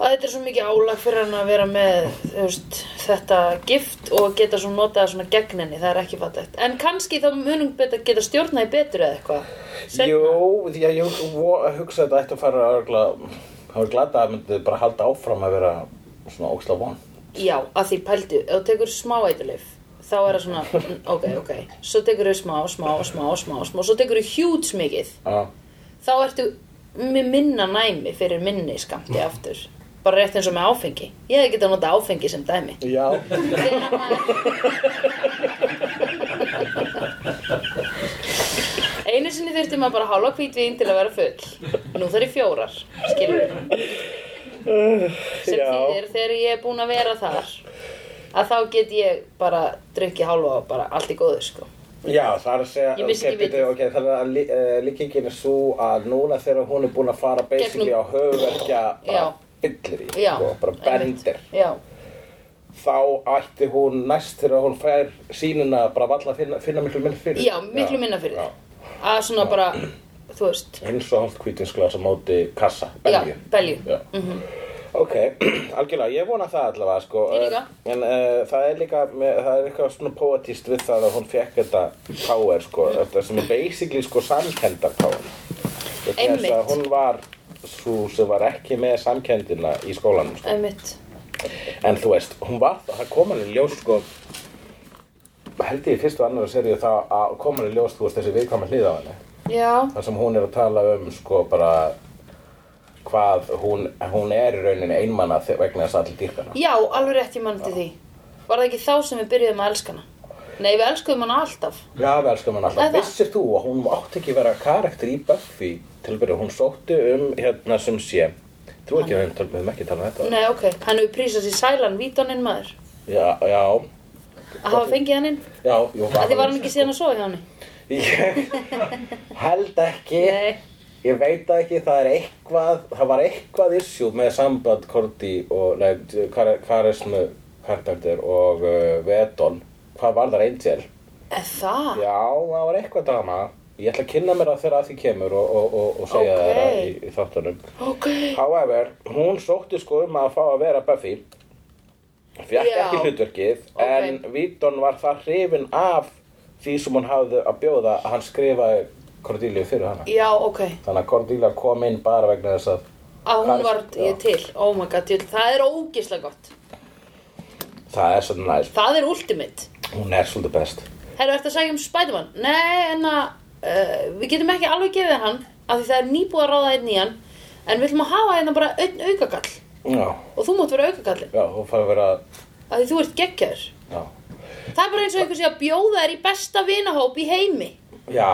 Speaker 2: að þetta er svo mikið álag fyrir hann að vera með þú veist, þetta gift og geta svo notað svona gegn henni, það er ekki fattægt en kannski þá munum beta, geta stjórnaði betur eða eitthvað Seinna.
Speaker 1: Jú, því að ég vo- hugsaði að þetta ætti að fara að örgla, það var glata að það myndi bara halda áfram að vera svona óksla von.
Speaker 2: Já, að því pældu, ef þú tekur smá eiturlif þá er það svona, mm, ok, ok svo tekur þú smá, smá, smá, smá, smá svo tekur þú hjúts mikið
Speaker 1: Já.
Speaker 2: þá ertu með minna næmi fyrir minni skamti aftur bara rétt eins og með áfengi ég hefði getað nota áfengi sem dæmi
Speaker 1: Já.
Speaker 2: Þegar maður- einu sinni þurfti maður bara hálfa hvítvín til að vera full nú þarf ég fjórar skilur sem
Speaker 1: Já.
Speaker 2: þýðir þegar ég er búin að vera þar að þá get ég bara drukkið hálfa og bara allt í góðu sko
Speaker 1: Já, það er að segja,
Speaker 2: Ég vissi ekki
Speaker 1: bíddu,
Speaker 2: vitið.
Speaker 1: ok, það er að lí- eh, líkingin er svo að núna þegar hún er búin að fara basically
Speaker 2: Gegnum-
Speaker 1: á höfverkja bara
Speaker 2: Já.
Speaker 1: fyllir í,
Speaker 2: já,
Speaker 1: sko, bara
Speaker 2: einmitt.
Speaker 1: bendir.
Speaker 2: já,
Speaker 1: þá ætti hún næst þegar hún fær sínuna bara valla að finna, finna miklu minna fyrir
Speaker 2: já, miklu minna fyrir
Speaker 1: já.
Speaker 2: þið að svona bara, þú veist
Speaker 1: eins og hálft kvítinsglas á móti kassa
Speaker 2: já, Mhm.
Speaker 1: belgju
Speaker 2: belju
Speaker 1: Já. ok, algjörlega, ég vona það allavega sko.
Speaker 2: Ég líka.
Speaker 1: Eh, en uh, það er líka með, það er eitthvað svona poetist við það að hún fekk þetta power sko,
Speaker 2: Mm.
Speaker 1: þetta sem er basically sko samkendar power Vegna þess
Speaker 2: Einmitt.
Speaker 1: að hún var svo sem var ekki með samkendina í skólanum sko.
Speaker 2: Einmitt.
Speaker 1: En þú veist, hún var, það kom hann í ljós sko held ég í fyrstu og annara seríu það að kom hann í ljós þú veist þessi viðkvæma hlið á henni
Speaker 2: Já,
Speaker 1: þar sem hún er að tala um sko bara hvað hún, hún er í rauninni einmana þe- vegna þess að allir dýrkana
Speaker 2: já, alveg rétt ég mann til því. Var það ekki þá sem við byrjuðum að elska hana? Nei, við elskuðum hana alltaf.
Speaker 1: Já, við elskum hann
Speaker 2: Það er
Speaker 1: alltaf
Speaker 2: það.
Speaker 1: Vissir þú að hún átti ekki vera karakter í Buffy til að byrja, hún sótti um hérna sem sé Þú ekki, við höfum ekki talað um þetta
Speaker 2: Nei, ok, hann hefur prísað sér sælan, vítaninn maður.
Speaker 1: Já, já,
Speaker 2: Að hafa fengið hann inn.
Speaker 1: já jú,
Speaker 2: Að því var hann ekki síðan að sofa hjá hann.
Speaker 1: Ég held ekki
Speaker 2: Nei.
Speaker 1: Ég veit það ekki, það er eitthvað það var eitthvað issue með samband Korti og nei, kar, karismu karakter og uh, Vedon hvað var þar Angel
Speaker 2: Eð það?
Speaker 1: Já, það var eitthvað drama Ég ætla að kynna mér það þegar að því kemur og, og, og, og segja
Speaker 2: Ókei.
Speaker 1: okay. það í, í þáttunum
Speaker 2: Ok.
Speaker 1: However, hún sótti sko um að fá að vera Buffy Fjækki
Speaker 2: Já.
Speaker 1: ekki hlutverkið
Speaker 2: Ókei.
Speaker 1: En Víton var það hrifin af því sem hún hafði að bjóða að hann skrifaði Cordelia fyrir hana
Speaker 2: Já, ok.
Speaker 1: Þannig að Cordelia kom inn bara vegna þess að
Speaker 2: Að hún
Speaker 1: Hvað-
Speaker 2: var
Speaker 1: Já.
Speaker 2: ég til. Oh my god, ég, það er ógislega gott.
Speaker 1: Það er svolítið næst.
Speaker 2: Það er ultimate.
Speaker 1: Hún er svolítið best.
Speaker 2: Herru, ertu að sækja um Spiderman? Nei, en að uh, við getum ekki alveg gefið hann af því það er nýbúið að ráða einn í hann en við ætlum að hafa hérna bara einn aukagall
Speaker 1: Já,
Speaker 2: og þú mátt vera aukagallin
Speaker 1: já, hún fær að vera,
Speaker 2: af því þú ert geggjaður.
Speaker 1: já.
Speaker 2: Það er bara eins og einhver sé að bjóða þér í besta vinahóp í heimi.
Speaker 1: Já.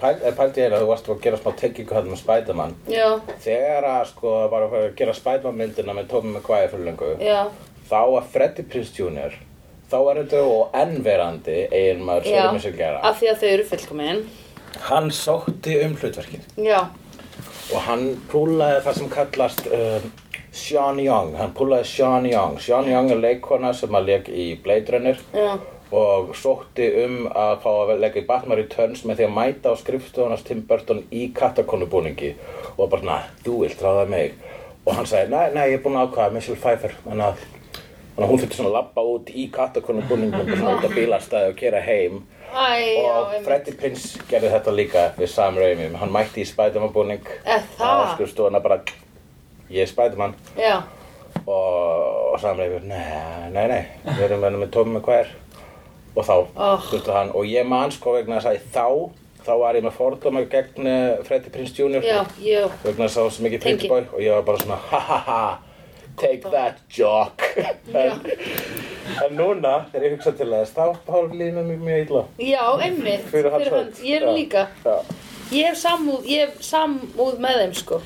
Speaker 1: Pæl, eh, pældi ég eiginlega að þú varst að gera smá tengingu hann með Spiderman.
Speaker 2: Já,
Speaker 1: Þegar að sko var að fara að gera Spiderman myndina með Tobey Maguire fyrir lengu,
Speaker 2: já,
Speaker 1: þá var Freddy Prinze Jr. Þá var þetta og ennverandi eigin maður
Speaker 2: já,
Speaker 1: Sörum sem gera.
Speaker 2: af því að þau eru fullkomin.
Speaker 1: Hann sótti um hlutverkið
Speaker 2: Já,
Speaker 1: og hann púlaði það sem kallast um, Sean Young. Hann púlaði Sean Young. Sean Young er leikona sem að leik í Blade Runner.
Speaker 2: já,
Speaker 1: og sótti um að fá að leggja í Batman Returns með því að mæta á skrifstofunars Tim Burton í katakonubúningi og bara, na, þú vilt ráða mig og hann sagði, nei, nei, ég er búinn að ákvaða Michelle Pfeiffer, þannig að þannig að hún þurfti svona að labba út í katakonubúningum og svona út að bílastæði og kera heim
Speaker 2: æ, já,
Speaker 1: og
Speaker 2: einmitt.
Speaker 1: Freddy Prince gerði þetta líka við Sam Raimi, hann mætti í Spiderman búning
Speaker 2: Eh, það?
Speaker 1: á skrifstofuna bara ég er Spiderman
Speaker 2: já,
Speaker 1: og, og samleifur, nei, nei, nei, við erum verið með Tommy McQuire og þá,
Speaker 2: Oh.
Speaker 1: þurfti hann, og ég man sko vegna þess að ég þá, þá var ég með fordóma gegn eh, Freddy Prinze Jr.
Speaker 2: já, já,
Speaker 1: vegna þess að það var svo mikið
Speaker 2: Tengi.
Speaker 1: Pretty Boy og ég var bara svona, ha ha ha, take that jock. en, en núna, þegar ég hugsa til þess, þá, þá líður mér mjög, mjög illa.
Speaker 2: já, einmitt,
Speaker 1: Fyrir hans hönd.
Speaker 2: Ég er
Speaker 1: Já.
Speaker 2: líka,
Speaker 1: Já.
Speaker 2: ég hef samúð, ég hef samúð með þeim, sko.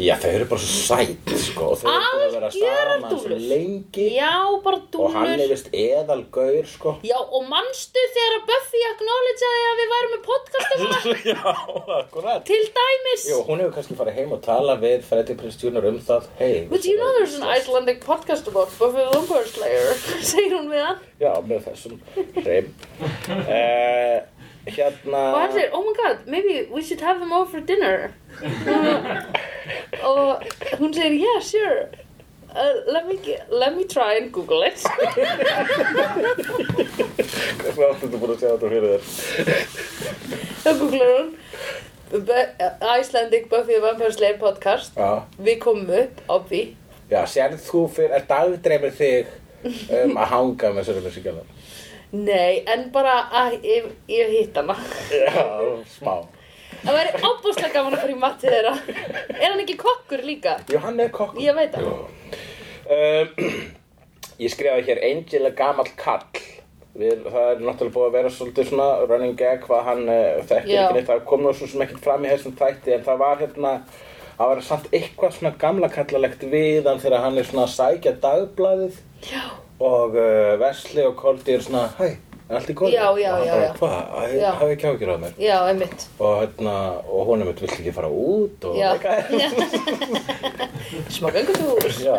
Speaker 1: Já, þau eru bara svo sæt, sko, og þau eru búin að vera
Speaker 2: Algjörar
Speaker 1: saman svo
Speaker 2: dúllur.
Speaker 1: lengi
Speaker 2: Já, bara
Speaker 1: og hann er
Speaker 2: dúlur.
Speaker 1: vist eðalgaur, sko.
Speaker 2: Já, og manstu þegar að Buffy acknowledgeaði að við værum með podcast og svona,
Speaker 1: Já, akkurat.
Speaker 2: til dæmis.
Speaker 1: Jú, hún hefur kannski farið heim og tala við Freddy Prinze Jr. um það, hei.
Speaker 2: But you know there's an Icelandic podcast about Buffy the Vampire Slayer, segir hún við hann.
Speaker 1: Já, með þessum hreim. uh, hérna...
Speaker 2: og hann segir, oh my god, maybe we should have them over for dinner uh, og hún segir, yeah, sure uh, let, me, ge- let me try and google it
Speaker 1: Hversu átt þetta búin að segja þetta fyrir þér?
Speaker 2: þá googlar hún Bu- Icelandic Buffy the Vampire Slayer podcast
Speaker 1: Já,
Speaker 2: við komum upp, obvi
Speaker 1: já, sérð þú fyrir, er dagdreymir þig um að hanga með Sörður Musikjala?
Speaker 2: nei, en bara að ég, ég hitt hana
Speaker 1: Já, smá.
Speaker 2: það væri ábúslega gaman að fara í matti þeirra er hann ekki kokkur líka?
Speaker 1: Jú, hann er kokkur.
Speaker 2: ég veit það
Speaker 1: Um, ég skrifaði hér Angel er gamall kall Við, það er náttúrulega búið að vera svolítið svona running gag hvað hann uh, þekkir
Speaker 2: Já.
Speaker 1: ekki neitt það kom nú svo sem ekkert fram í þessum þætti en það var hérna það var samt eitthvað svona gamla kallalegt við hann þegar hann er svona að sækja dagblaðið
Speaker 2: já,
Speaker 1: og uh, Vesli og Koldi er svona hæ, er allt í góðu?
Speaker 2: Já, já,
Speaker 1: og hann
Speaker 2: já, já.
Speaker 1: bara, hvað,
Speaker 2: Já.
Speaker 1: hafi ekki ágjur á mér
Speaker 2: já, einmitt
Speaker 1: og hérna, og hún er mitt vill ekki fara út og
Speaker 2: já,
Speaker 1: eitthvað
Speaker 2: smá gangutúr
Speaker 1: Já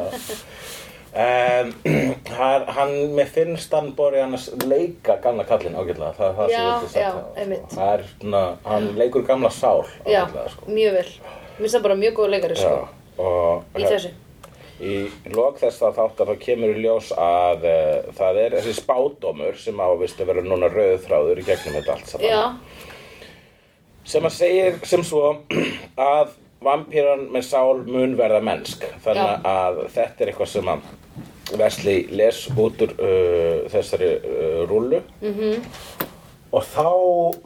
Speaker 1: Um, hann, hann- mér finnst hann borið hann að leika gamla kallinn ágætlega það er það sem
Speaker 2: Já,
Speaker 1: ég vildi sagt
Speaker 2: já,
Speaker 1: hafa,
Speaker 2: einmitt.
Speaker 1: sko. það er svona, hann leikur gamla sál
Speaker 2: Já,
Speaker 1: ágætlega sko.
Speaker 2: mjög vel. Mér finnst það bara mjög góð leikari,
Speaker 1: já,
Speaker 2: sko.
Speaker 1: og hérna,
Speaker 2: Í þessu.
Speaker 1: í lok þess að þáttar þá kemur í ljós að uh, það er þessi spádómur sem á vist að vera núna rauðþráður í gegnum þetta allt saman
Speaker 2: Já,
Speaker 1: sem að segir sem svo að vampýran með sál mun verða mennsk þannig
Speaker 2: Já.
Speaker 1: að þetta er eitthvað sem að Vesli les út úr uh, þessari uh, rúlu -hmm.
Speaker 2: Mhm.
Speaker 1: og þá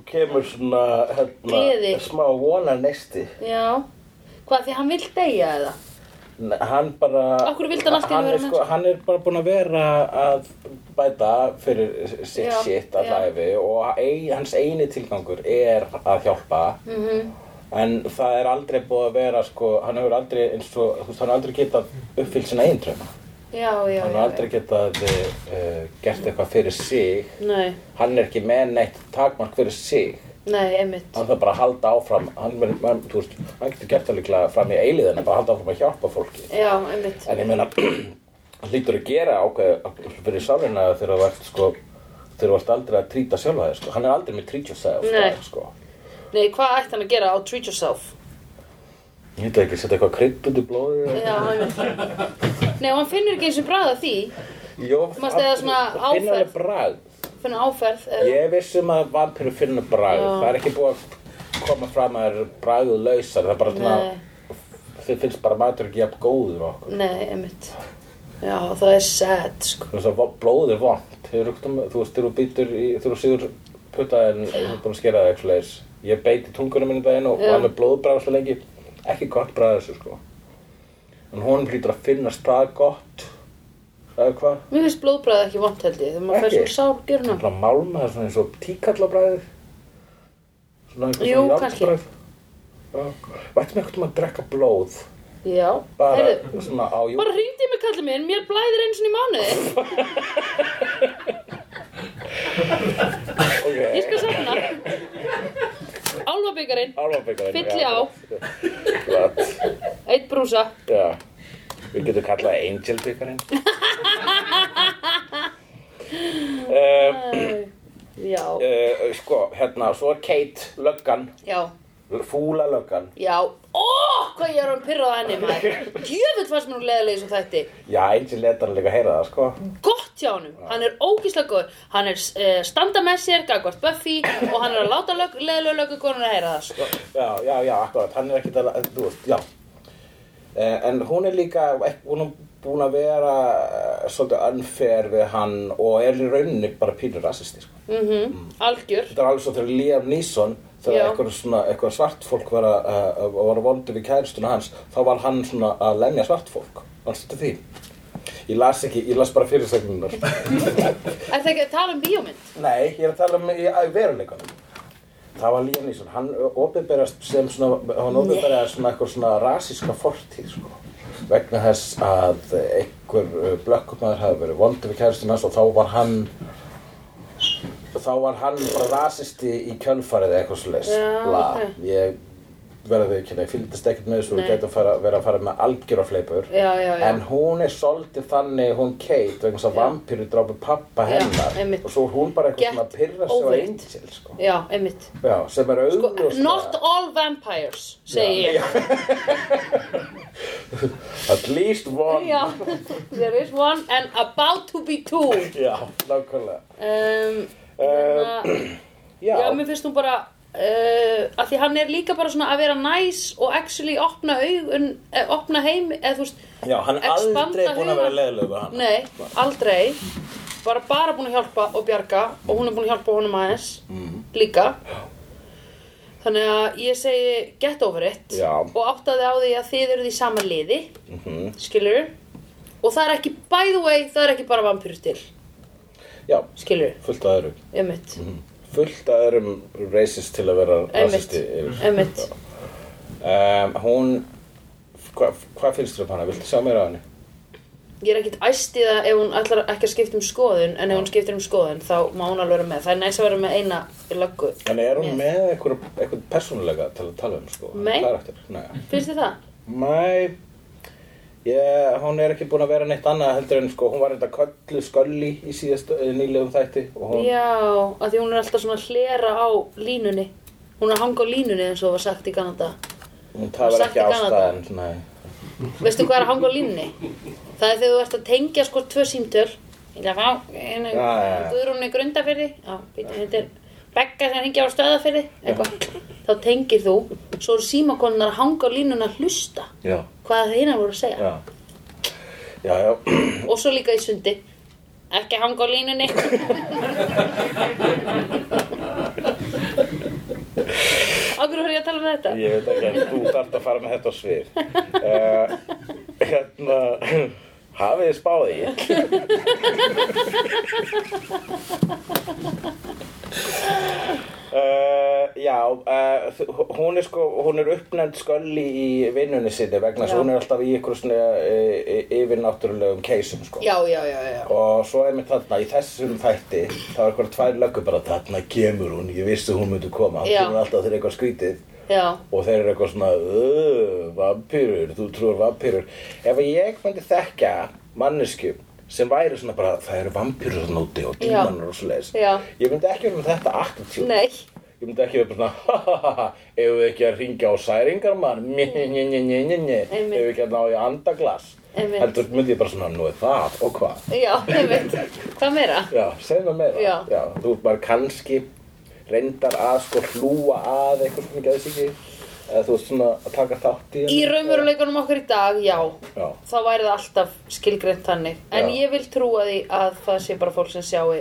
Speaker 1: kemur svona hérna,
Speaker 2: Gleði.
Speaker 1: smá vonar neisti
Speaker 2: já. Hvað, því hann vil deyja eða?
Speaker 1: hann bara
Speaker 2: Af hverju vildi hann allt í einu
Speaker 1: hann, er
Speaker 2: vera
Speaker 1: sko, hann er bara búinn að vera að bæta fyrir sitt
Speaker 2: Já,
Speaker 1: shit að
Speaker 2: já.
Speaker 1: læfi og ein, hans eini tilgangur er að hjálpa
Speaker 2: Mhm.
Speaker 1: -hmm. en það er aldrei búið að vera sko, hann hefur aldrei eins og þú veist, hann hefur aldrei getað uppfyllt sinna einn dröma
Speaker 2: Já, já,
Speaker 1: hann
Speaker 2: já.
Speaker 1: hefur aldrei getað uh, gert eitthvað fyrir sig
Speaker 2: já. Nei,
Speaker 1: hann er ekki með neitt takmark fyrir sig
Speaker 2: nei, einmitt.
Speaker 1: hann þarf bara að halda áfram hann, verður- hann, þú veist, hann getur gert það líklega fram í eilíðina bara að halda áfram að hjálpa fólki
Speaker 2: Já, einmitt.
Speaker 1: En ég meina, hann hlýtur að gera ákveð fyrir sálinna þegar þú vart sko, þegar þú vart aldrei að trýta sjálfa þér sko. Hann er aldrei með treat yourself
Speaker 2: Nei.
Speaker 1: dag, sko.
Speaker 2: Nei, hvað ætti hann að gera á Treat Yourself?
Speaker 1: Ég veit ekki, setja eitthvað krydd undir blóðið og-
Speaker 2: Já, einmitt. Nei, og hann finnur ekki eins og bræða því.
Speaker 1: Jó,
Speaker 2: Manstu eða svona
Speaker 1: hann finnur
Speaker 2: áferð?
Speaker 1: alveg bragð.
Speaker 2: Finnur áferð. eða-
Speaker 1: Ég er viss um að vampíru finnur bragð.
Speaker 2: Já.
Speaker 1: Það er ekki búið að koma fram að það eru bragðu lausar. Það er bara svona,
Speaker 2: Nei,
Speaker 1: þið finnst bara matur ekki jafn góður og okkur.
Speaker 2: nei, einmitt. Já, það er sad, sko.
Speaker 1: Þú veist að vo- blóð er vond Þú veist, þegar um- þú býtur í, þegar þú sigur puttaðin Þú ert búin að skera það eitthvað leis Ég beit í tungunum minni daginn og
Speaker 2: Já.
Speaker 1: var með blóðbræð svo lengi Ekki gott bræð þessu sko En hún hlýtur að finnast það gott Það er hvað
Speaker 2: Mér finnst blóðbræði ekki vant, held ég, þegar maður fær
Speaker 1: Ekki?
Speaker 2: svona sárgjörna.
Speaker 1: Það er að málma það er svona eins og tíkallabræðið Svona einhver
Speaker 2: Jú,
Speaker 1: svona
Speaker 2: kannski.
Speaker 1: járnbræð Vættum eitthvað um að drekka blóð
Speaker 2: Já,
Speaker 1: Bara
Speaker 2: heyrðu.
Speaker 1: svona á jú
Speaker 2: Bara hringdi í mig kallið minn, mér blæðir eins og í mánuði.
Speaker 1: okay.
Speaker 2: Ég skal safna. Álfabyggarinn,
Speaker 1: Álfabyggarinn
Speaker 2: Fylli
Speaker 1: já,
Speaker 2: á.
Speaker 1: Gott,
Speaker 2: eitt brúsa.
Speaker 1: Já Við getum kallað Angel byggarinn uh,
Speaker 2: Já,
Speaker 1: uh, Sko, hérna, svo er Kate löggan
Speaker 2: já,
Speaker 1: Fúla löggan
Speaker 2: já. Ó, hvað ég er að pyrra á henni, maður. Djöfull fannst mér hún leiðileg sem þætti.
Speaker 1: Já, Angel letar líka að heyra það, sko
Speaker 2: gott hjá honum, hann er ógíslega góður hann er uh, standa með sér, gagvart Buffy og hann er að láta lög, leðlega lögukonur að heyra það sko.
Speaker 1: Já, já, já, akkurat, hann er ekkert að, þú veist, já Eh, En hún er líka, hún er búin að vera eh, svolítið unfair við hann og er í rauninni bara pínur rasisti, sko
Speaker 2: mm algjör
Speaker 1: Þetta er alveg svo þegar Liam Neeson þegar
Speaker 2: Já.
Speaker 1: eitthvað, svona, eitthvað svart fólk var að, að, að var vondur við kæristuna hans þá var hann svona að lemja svart fólk Allt þetta því Ég las ekki, ég las bara fyrirsegnunar
Speaker 2: er það ekki að tala um bíómynd?
Speaker 1: Nei, ég er að tala um í, í veruleikanum Það var Liam Neeson, hann opinberast sem svona, hann opinberast svona eitthvað svona rasíska fortíð sko vegna þess að einhver uh, blökkumæður hafði verið vondur við kæristuna hans og þá var hann þá var hann bara rasisti í kjölfarið eða eitthvað svoleiðis
Speaker 2: Já,
Speaker 1: Bla.
Speaker 2: ok.
Speaker 1: ég verði við kynna, ég fylgdist ekkert með þessu og
Speaker 2: Nei.
Speaker 1: gæti að fara, vera að fara með algjöra fleipur
Speaker 2: já, já, já,
Speaker 1: en hún er svolítið þannig hún Kate vegna þess að
Speaker 2: Já.
Speaker 1: vampíru drápu pappa
Speaker 2: Já,
Speaker 1: hennar
Speaker 2: einmitt.
Speaker 1: og svo er hún bara
Speaker 2: Get
Speaker 1: eitthvað svona að pyrra sig á
Speaker 2: over it.
Speaker 1: Angel sko.
Speaker 2: já, einmitt
Speaker 1: já, sem er
Speaker 2: Sko, not
Speaker 1: augljóslega
Speaker 2: all vampires, segi ég
Speaker 1: at least one
Speaker 2: já, there is one and about to be two
Speaker 1: já nákvæmlega
Speaker 2: um, uh,
Speaker 1: já,
Speaker 2: já, mér finnst hún bara Uh, að því hann er líka bara svona að vera næs og actually opna augun eh, opna heim eða þú veist
Speaker 1: já, hann er
Speaker 2: expanda
Speaker 1: aldrei búin að vera
Speaker 2: hugann.
Speaker 1: leiðilegu hann
Speaker 2: Nei, aldrei bara bara búin að hjálpa og bjarga og hún er búin að hjálpa honum aðeins
Speaker 1: Mhm.
Speaker 2: líka þannig að ég segi get over it
Speaker 1: Já. Mhm.
Speaker 2: og áttaði á því að þið eruð í sama liði mm skilur og það er ekki, by the way, það er ekki bara vampýrur til
Speaker 1: já,
Speaker 2: skilur,
Speaker 1: fullt að öðrum
Speaker 2: einmitt
Speaker 1: Mhm, fullt að öðrum racist til að vera
Speaker 2: einmitt,
Speaker 1: racisti yfir
Speaker 2: einmitt
Speaker 1: um, hún hvað hva finnst þér um hana, viltu sjá mér á henni?
Speaker 2: ég er ekkit æst í það ef hún ætlar ekki að skipta um skoðun en ef hún skiptir um skoðun þá má hún alveg vera með það er næst að vera með eina löggu
Speaker 1: Þannig er hún með eitthvað, eitthvað persónulega til að tala um sko
Speaker 2: Nei.
Speaker 1: Karakter. Nei
Speaker 2: finnst þið það?
Speaker 1: Mæ yeah, Hún er ekki búin að vera neitt annað heldur en sko Hún var þetta köllu skölli í síðast nýlegum þætti Og hún
Speaker 2: Já, að því hún er alltaf svona að hlera á línunni Hún er að hanga á línunni eins og var sagt í Kanada
Speaker 1: Hún
Speaker 2: Hún
Speaker 1: talar
Speaker 2: sagt
Speaker 1: ekki
Speaker 2: í Kanada.
Speaker 1: ástæðan Nei
Speaker 2: Veistu hvað er að hanga á línunni? Það er þegar þú ert að tengja sko tvö símtöl Ég ætla að fá einu
Speaker 1: Já, já, já.
Speaker 2: Guðrúnni grundafyrði Já, býtum þetta er Begga sem hengja á stöðafyrði Eitthvað Þá tengir þú Svo eru símakonunar að hanga á línunni að hlusta
Speaker 1: Já
Speaker 2: Hvað það hinnar voru að segja
Speaker 1: Já Já, já
Speaker 2: Og svo líka í sundi Ekki hanga á línunni Akkur var ég að tala um þetta?
Speaker 1: Ég veit ekki en þú þarft að fara með þetta á svið uh, Hérna Hafið þið spáði ég Uh, já, uh, þ- hún er sko, hún er uppnefnd skölli í vinnunni sinni vegna þess
Speaker 2: Já.
Speaker 1: að hún er alltaf í ykkur svona uh, yfirnáttúrulegum keisum sko.
Speaker 2: Já, já, já, já, já.
Speaker 1: Og svo er mér þarna, í þessum þætti, þá er eitthvað tvær löggur bara, þarna kemur hún, ég vissi hún myndi koma, hún
Speaker 2: Já.
Speaker 1: kemur alltaf þegar eitthvað skrítið
Speaker 2: Já,
Speaker 1: og þeir eru eitthvað svona "Ugh, vampírur, þú trúir vampírur ef ég myndi þekka mannesku sem væri svona bara það eru vampírur þarna úti og
Speaker 2: Já.
Speaker 1: dímanur og svoleiðis
Speaker 2: Já.
Speaker 1: ég myndi ekki vera með þetta attitúd
Speaker 2: nei,
Speaker 1: ég myndi ekki vera bara svona "Ha, ha, ha, ha, ef við ekki að ringja á særingar mann mjö, mjö, mjö, mjö, mjö, mjö, ef
Speaker 2: Einmitt.
Speaker 1: við ekki að ná í andaglas
Speaker 2: Einmitt.
Speaker 1: heldur myndi ég bara svona nú er það og hvað
Speaker 2: já, ég veit, hvað meira?
Speaker 1: já, segðu mér meira
Speaker 2: Já.
Speaker 1: þú ert bara kannski reyndar að sko hlúa að eitthvað sem ekki að þessi ekki eða þú veist svona að taka þátt í
Speaker 2: Í raunveruleikunum okkar í dag, já,
Speaker 1: Já,
Speaker 2: þá væri það alltaf skilgreint þannig. En
Speaker 1: Já.
Speaker 2: ég vil trúa því að það sé bara fólk sem sjáu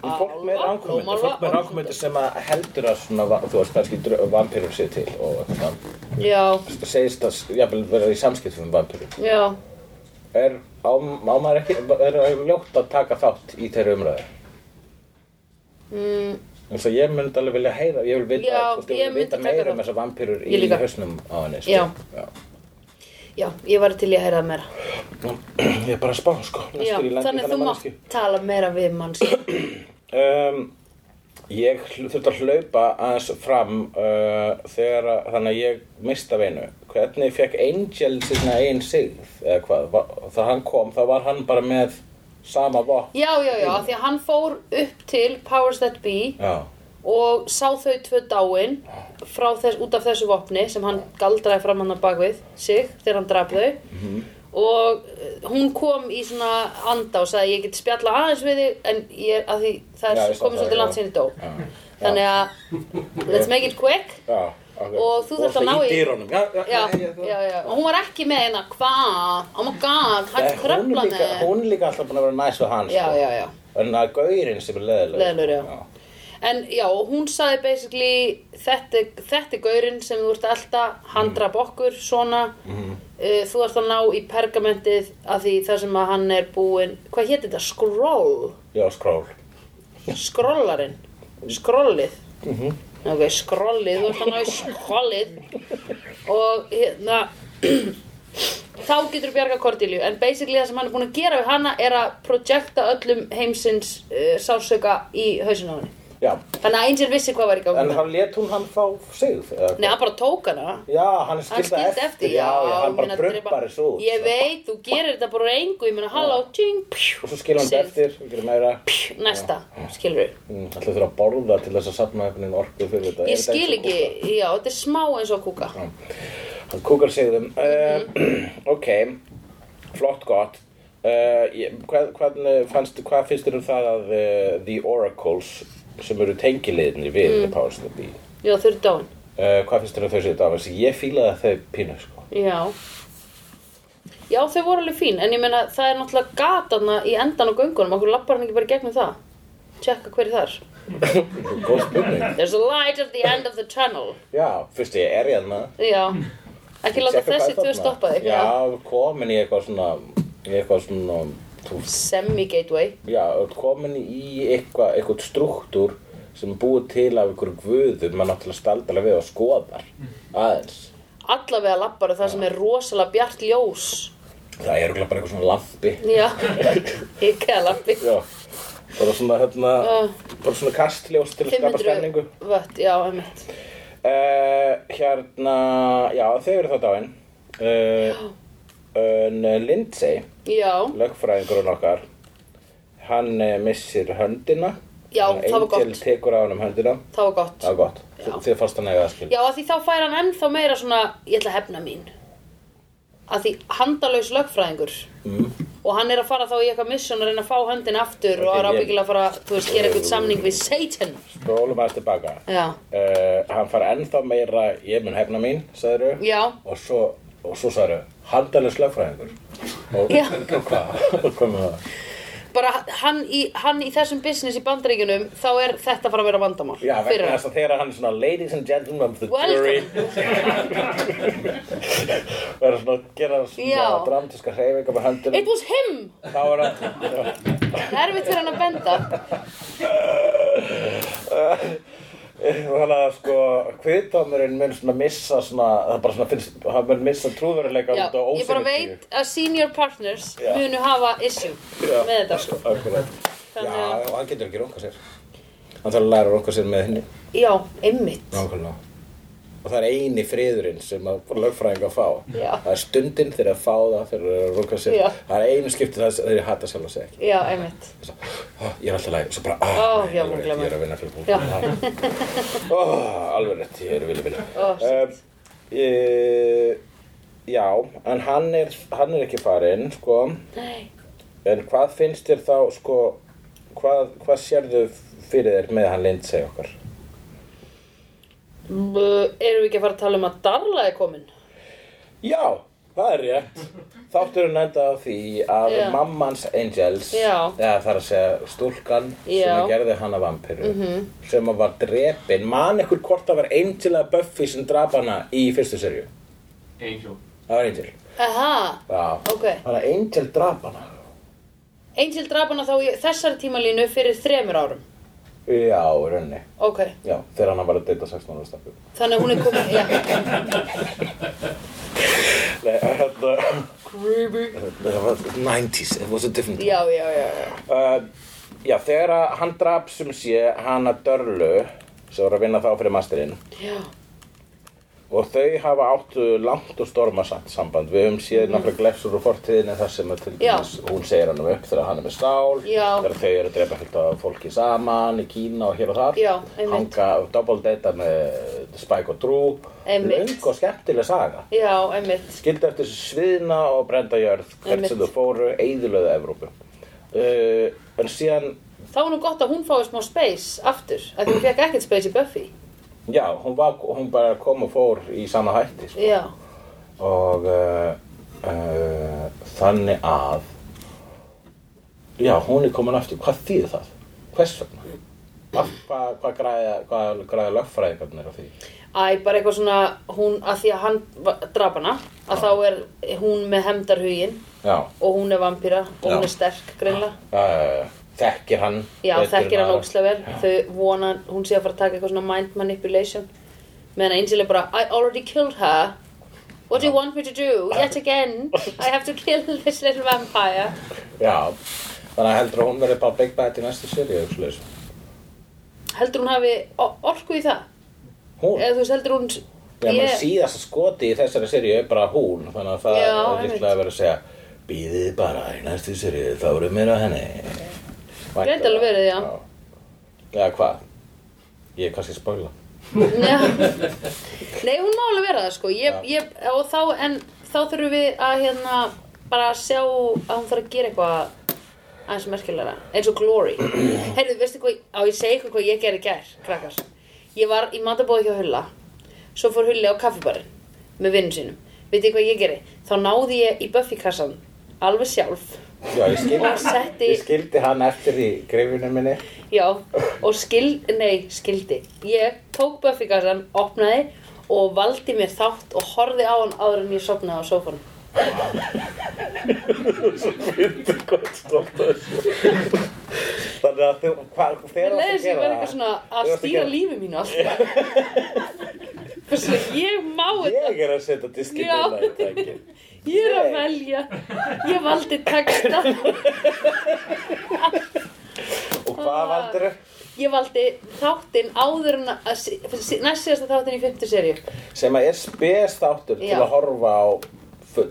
Speaker 1: fólk með
Speaker 2: Álfa,
Speaker 1: rangkomendur,
Speaker 2: blómálfa,
Speaker 1: fólk með rangkomendur sem að heldur að svona, va- þú veist, kannski drau- vampírur sér til og eitthvað.
Speaker 2: Já,
Speaker 1: Það segist að, jafnvel, vera í samskiptum með vampírur.
Speaker 2: já,
Speaker 1: Er, á, á maður ekki, er, er ljótt að taka þátt í þeirra umræðu?
Speaker 2: mm,
Speaker 1: Þannig að ég myndi alveg vilja heyra, ég vil vita,
Speaker 2: Já,
Speaker 1: þú veist, ég
Speaker 2: ég
Speaker 1: vil vita
Speaker 2: myndi taka
Speaker 1: meira um
Speaker 2: þátt.
Speaker 1: þessar vampýrur
Speaker 2: Ég
Speaker 1: í
Speaker 2: líka.
Speaker 1: hausnum á henni, sko.
Speaker 2: Já. já, ég var til í að heyra það meira.
Speaker 1: Ég er bara að spá, sko,
Speaker 2: Já,
Speaker 1: næstur í landi
Speaker 2: þannig þú mátt tala meira við manns.
Speaker 1: Um, ég hl- þurfti að hlaupa aðeins fram uh, þegar að, þannig að ég mista veinu. Hvernig fekk Angel sinna einn sigð, eða hvað, Va- þegar hann kom, þá var hann bara með sama vopn.
Speaker 2: Já, já, já, af því að hann fór upp til Powers That Be
Speaker 1: Já,
Speaker 2: og sá þau tvö dáin frá þess, út af þessu vopni sem hann galdraði fram hann á bakvið sig þegar hann draf þau og eh, hún kom í svona anda og sagði ég get spjalla aðeins við þig en ég, að því það
Speaker 1: Já, ég
Speaker 2: er
Speaker 1: sá
Speaker 2: komið
Speaker 1: það,
Speaker 2: svolítið
Speaker 1: já.
Speaker 2: langt sinni dó
Speaker 1: já,
Speaker 2: þannig að let's make it quick
Speaker 1: já. Okay.
Speaker 2: Og þú þarft að ná
Speaker 1: í
Speaker 2: í-
Speaker 1: dýrunum, já, já,
Speaker 2: já, já, já, og hún var ekki með hérna hvað, oh my god, hann
Speaker 1: Nei, hún
Speaker 2: kröfla
Speaker 1: er líka,
Speaker 2: með
Speaker 1: hún er líka alltaf búin að vera næs við hann
Speaker 2: Já,
Speaker 1: sko.
Speaker 2: já, já.
Speaker 1: en það er gaurinn sem er leðilegur
Speaker 2: Leiðinlegur, já. En já, hún sagði basically þetta, þetta er gaurinn sem þú ert alltaf, hann draf okkur svona, uh, þú ert að ná í pergamentið af því það sem að hann er búinn, hvað hétt þetta? Scroll?
Speaker 1: já, skról
Speaker 2: Skrollarinn? Skrollið? Ok, skrollið, þú ert að ná í skrollið og hérna, þá getur bjarga Cordelia en basically það sem hann er búinn að gera við hana er að projekta öllum heimsins uh, sársöka í hausinn á henni.
Speaker 1: já,
Speaker 2: Þannig að Angel vissi hvað var í gangi
Speaker 1: en
Speaker 2: með.
Speaker 1: hann let hún hann fá sigð eða hvað?
Speaker 2: Nei, hann bara tók hana
Speaker 1: já, hann er
Speaker 2: Hann
Speaker 1: skilta
Speaker 2: skildi eftir,
Speaker 1: já, já,
Speaker 2: ég
Speaker 1: hann
Speaker 2: meina,
Speaker 1: bara
Speaker 2: drepa-
Speaker 1: brumpar þessu út
Speaker 2: Ég
Speaker 1: sko.
Speaker 2: veit, þú gerir þetta bara úr engu Ég meina, halló, tjing, pjú
Speaker 1: og svo skilur hann
Speaker 2: Sig.
Speaker 1: þetta eftir við gerum meira
Speaker 2: pjú, Næsta, skilur við
Speaker 1: Mm, ætla þurfa að borða til þess að safna einhvern veginn orku fyrir þetta Er
Speaker 2: Ég
Speaker 1: þetta eins
Speaker 2: skil
Speaker 1: og
Speaker 2: ekki, já, þetta er smá eins og kúka
Speaker 1: kúka? hann kúkar sigðum uh, ok, flott gott Uh, ég, hvað, hvernig fannst, hvað finnst þér um það að uh, The Oracles sem eru tengiliðinni við mm. Powers That Be
Speaker 2: Já, þau eru dáin
Speaker 1: Uh, hvað finnst þér að þau séu damas? Ég fílaði að þau pínu, sko.
Speaker 2: Já Já, þau voru alveg fín En ég meina, það er náttúrulega gatana í endan á göngunum Okkur lappar hann ekki bara í gegnum það Tjekka hver er þar
Speaker 1: Góð spurning.
Speaker 2: There's a light at the end of the tunnel
Speaker 1: Já, fyrst ég er hérna.
Speaker 2: Já Ekki láta
Speaker 1: Sjekka hvað
Speaker 2: þessi
Speaker 1: er
Speaker 2: tvö
Speaker 1: þarna.
Speaker 2: stoppa þig
Speaker 1: Já, komin í eitthvað svona, í eitthvað svona, þú,
Speaker 2: Semi-gateway
Speaker 1: já, komin í eitthvað, eitthvað struktúr sem er búið til af einhverju guðum, maður náttúrulega staldala við og skoðar aðeins.
Speaker 2: allavega lappar og það sem er rosalega bjart ljós
Speaker 1: Það er örugglega bara eitthvað svona lampi.
Speaker 2: já, hikaða lappi
Speaker 1: Já, bara svona, hérna,
Speaker 2: Uh.
Speaker 1: bara svona kastljós til að skapa
Speaker 2: 500
Speaker 1: stemningu.
Speaker 2: vött, já, einmitt
Speaker 1: Uh, hérna, já, þau eru þá dáin uh, en uh, Lindsay,
Speaker 2: já,
Speaker 1: lögfræðingurinn okkar hann uh, missir höndina
Speaker 2: Já,
Speaker 1: Þannig að
Speaker 2: það var gott.
Speaker 1: Angel tekur á hann um höndina
Speaker 2: það var gott
Speaker 1: það var gott,
Speaker 2: Já.
Speaker 1: Þi- þið fannst hann eiga að skil
Speaker 2: já, af því þá fær hann ennþá meira svona ég ætla að hefna mín af því handalaus lögfræðingur
Speaker 1: Mm.
Speaker 2: og hann er að fara þá í eitthvað mission að reyna að fá höndin aftur og
Speaker 1: Ok,
Speaker 2: það er
Speaker 1: ég-
Speaker 2: ábyggilega að fara þú veist, gera eitthvað samning við Satan
Speaker 1: spólum aðeins tilbaka
Speaker 2: já,
Speaker 1: uh, hann far ennþá meira ég mun hefna mín, sagðiru
Speaker 2: já,
Speaker 1: og svo, og svo sagðiru, handalins lögfræðingur og,
Speaker 2: Já.
Speaker 1: og hvað og hvað með það
Speaker 2: bara hann í, hann í þessum business í bandaríkjunum þá er þetta að fara að vera vandamál
Speaker 1: Já,
Speaker 2: fyrir
Speaker 1: vegna
Speaker 2: hann.
Speaker 1: þess að þegar hann er svona ladies and gentlemen of the jury
Speaker 2: Welcome.
Speaker 1: verður svona að gera svona
Speaker 2: Já.
Speaker 1: dramatiska hreyfingar með höndunum
Speaker 2: It was him!
Speaker 1: þá er hann
Speaker 2: Það er erfitt fyrir hann að benda.
Speaker 1: þannig að sko kviðdómurinn mun svona missa svona það bara svona finnst hann mun missa trúveruleika
Speaker 2: Já,
Speaker 1: út á
Speaker 2: ég bara veit að senior partners
Speaker 1: Já.
Speaker 2: munu hafa issue
Speaker 1: Já.
Speaker 2: með þetta sko.
Speaker 1: Akkurat. Já,
Speaker 2: Þannig að-
Speaker 1: og hann getur ekki runga sér hann þarf að læra að runga sér með henni
Speaker 2: Já, einmitt.
Speaker 1: nákvæmlega og það er eini friðurinn sem að lögfræðinga fá
Speaker 2: Já.
Speaker 1: það er stundin þegar að fá það þegar þeir eru að runga sér
Speaker 2: Já.
Speaker 1: það er einu skipti það þegar þeir hata sjálf að segja
Speaker 2: Já, einmitt.
Speaker 1: Svo, "Ah, ég er alltaf læg og svo bara
Speaker 2: Ó,
Speaker 1: oh,
Speaker 2: já,
Speaker 1: alveg,
Speaker 2: hún
Speaker 1: rétt,
Speaker 2: glemur.
Speaker 1: ég er að vinna fyrir
Speaker 2: Já.
Speaker 1: búin alveg rétt, ég er að vilja vinna
Speaker 2: Ó, shit.
Speaker 1: eh, já, en hann er, hann er ekki farinn sko.
Speaker 2: Nei.
Speaker 1: en hvað finnst þér þá sko, hvað, hvað sérðu fyrir þér með hann Lindsay okkar
Speaker 2: Bú, Erum við ekki að fara að tala um að Darla er komin?
Speaker 1: Já, það er rétt. Þátturinn endaði á því að
Speaker 2: Já.
Speaker 1: mammans Angels,
Speaker 2: Já.
Speaker 1: eða það er að segja stúlkan
Speaker 2: Já.
Speaker 1: sem gerði hana vampiru, sem að var drepin, man ykkur hvort það var Angel eða Buffy sem draf hana í fyrstu serju.
Speaker 4: Angel.
Speaker 1: Það var Angel.
Speaker 2: Aha,
Speaker 1: Já.
Speaker 2: ok.
Speaker 1: Þannig að Angel draf hana.
Speaker 2: Angel draf hana þá í þessari tímalínu fyrir þremur árum.
Speaker 1: Já, í rauninni.
Speaker 2: Ok,
Speaker 1: Já, þegar hann var að deyta 16 ára stafnum.
Speaker 2: þannig að hún er komin, já.
Speaker 1: Nei, hérna,
Speaker 2: Creepy.
Speaker 1: það var 90s, it was a different
Speaker 2: Já, já, já, já.
Speaker 1: uh, Já, þegar að hann draf sem sé hana Dörlu, sem var að vinna þá fyrir masterinn,
Speaker 2: Já,
Speaker 1: Og þau hafa áttu langt og stormasamt samband. Við höfum séð nokkra glefsur úr fortíðinni þar sem að til
Speaker 2: Mhm. Já.
Speaker 1: dæmis hún segir hann um upp þegar hann er með stál,
Speaker 2: Já.
Speaker 1: þegar þau eru að drepa fullt af fólki saman í Kína og hér og þar,
Speaker 2: Já, einmitt.
Speaker 1: hanga dobbaldata með Spike og Drew,
Speaker 2: Einmitt.
Speaker 1: löng og skemmtileg saga.
Speaker 2: já, einmitt.
Speaker 1: Skildi eftir þessu sviðna og brenda jörð, hvert sem þau
Speaker 2: Einmitt.
Speaker 1: fóru, eðilöðu Evrópu. Uh, en síðan,
Speaker 2: Þá er nú gott að hún fái smá space aftur, að því hún fekk ekkert space í Buffy.
Speaker 1: já, hún, var, hún bara kom og fór í sama hætti, sko.
Speaker 2: Já,
Speaker 1: og uh, uh, þannig að já, hún er komin aftur hvað þýðir það? hvers vegna? Af, hvað, hvað græða, hvað græða lögfræðingarnir á því?
Speaker 2: æ, bara eitthvað svona, hún, að því að hann va- draf hana, að þá er hún með hemdarhugin
Speaker 1: já,
Speaker 2: og hún er vampýra og
Speaker 1: Já.
Speaker 2: hún er sterk, greinlega.
Speaker 1: uh, þekkir hann
Speaker 2: Já,
Speaker 1: betur
Speaker 2: þekkir
Speaker 1: en
Speaker 2: hann
Speaker 1: aðra?
Speaker 2: ógislega vel. Þau vona, að hún sé að fara að taka eitthvað svona mind manipulation. Meðan að Angel er bara, I already killed her. What do you want me to do? Yet again, I have to kill this little vampire.
Speaker 1: já, þannig að heldur að hún verði bara Big Bad í næstu seri hún,
Speaker 2: Heldur hún hafi o- orku í það? Eða þú veist, heldur hún...
Speaker 1: já, yeah.
Speaker 2: Ég-
Speaker 1: síðasta skoti í þessari seri er bara hún þannig að það
Speaker 2: Já,
Speaker 1: er
Speaker 2: einmitt.
Speaker 1: líklega að vera að segja býðið bara í næstu seri þá eru mér á henni
Speaker 2: Gæti alveg verið, já.
Speaker 1: Já, hvað? Ég er kannski að spoila.
Speaker 2: Já. Nei, hún má alveg vera það sko ég,
Speaker 1: Já.
Speaker 2: ég, og þá, en þá þurfum við að hérna bara að sjá að hún þarf að gera eitthvað aðeins merkilega, eins og Glory Heyrðu, veistu hvað, á ég segi ykkur hvað ég gerði í gær, krakkar Ég var í matabóði hjá Hulla svo fór Hulli á kaffibarinn með vinnum sínum, veitu hvað ég gerði þá náði ég í Buffy kassan alveg sjálf,
Speaker 1: Já, ég skildi,
Speaker 2: Og setti-
Speaker 1: ég skildi hann eftir í greifinu minni.
Speaker 2: já og skil, nei, skildi ég tók Buffy kassan, opnaði og valdi mér þátt og horfði á hann áður en ég sofnaði á sófanum
Speaker 1: Fyndi gott stolt að þessu. Þannig að þú, hvað, þegar
Speaker 2: Mér
Speaker 1: þú
Speaker 2: leiðist
Speaker 1: varst
Speaker 2: ég
Speaker 1: að
Speaker 2: verið
Speaker 1: gera
Speaker 2: eitthvað svona að
Speaker 1: þú varst að
Speaker 2: stýra
Speaker 1: gera-
Speaker 2: lífi mínu alltaf. Bara svona, ég má þetta,
Speaker 1: Ég er að setja diskinn
Speaker 2: Já.
Speaker 1: í lagtækin.
Speaker 2: ég er að
Speaker 1: ég-
Speaker 2: velja, ég valdi texta,
Speaker 1: Og hvað
Speaker 2: Ah.
Speaker 1: valdur?
Speaker 2: ég valdi þáttinn áður en að, si- si- næst síðasta þáttinn í 50 seríu.
Speaker 1: Sem að er spes þáttur til
Speaker 2: Já.
Speaker 1: að horfa á full.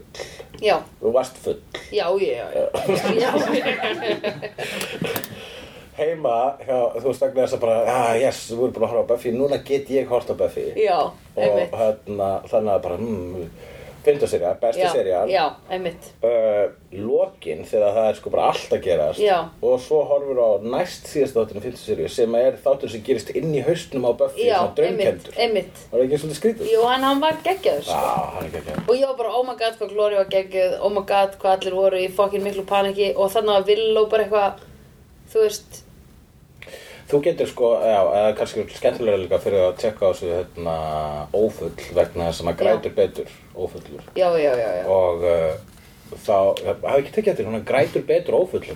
Speaker 2: Já,
Speaker 1: Þú varst full.
Speaker 2: já, já, já, já,
Speaker 1: Heima, hjá, þú veist ekki þess að bara, ah, yes, við erum búin að horfa á Buffy, núna get ég hort á Buffy.
Speaker 2: já,
Speaker 1: og
Speaker 2: einmitt,
Speaker 1: hérna, þannig að bara mm, fynda serja, besta
Speaker 2: já,
Speaker 1: serja
Speaker 2: já, einmitt,
Speaker 1: uh, lokin þegar það er sko bara allt að gerast
Speaker 2: Já.
Speaker 1: og svo horfur á næst síðast þáttunum fynda serju sem er þáttur sem gerist inn í hausnum á Buffy
Speaker 2: já,
Speaker 1: svona
Speaker 2: einmitt,
Speaker 1: draumkendur
Speaker 2: einmitt.
Speaker 1: var það ekki svolítið skrítið?
Speaker 2: Jú, en hann var geggjaður,
Speaker 1: Já,
Speaker 2: sko.
Speaker 1: hann er ekki ekki
Speaker 2: Og ég var bara, oh my god, hvað Glory var geggjuð, oh my god, hvað allir voru í fokkin miklu paniki og þannig að Villó bara eitthvað, þú veist,
Speaker 1: Þú getur sko, já, eða kannski skemmtilega líka fyrir að tjekka á þessu hérna, ófull vegna þess að maður
Speaker 2: Já.
Speaker 1: grætur betur ófullur
Speaker 2: já, já, já, já.
Speaker 1: og uh, þá, ég hafði ekki tekið eftir, hún grætur betur ófullur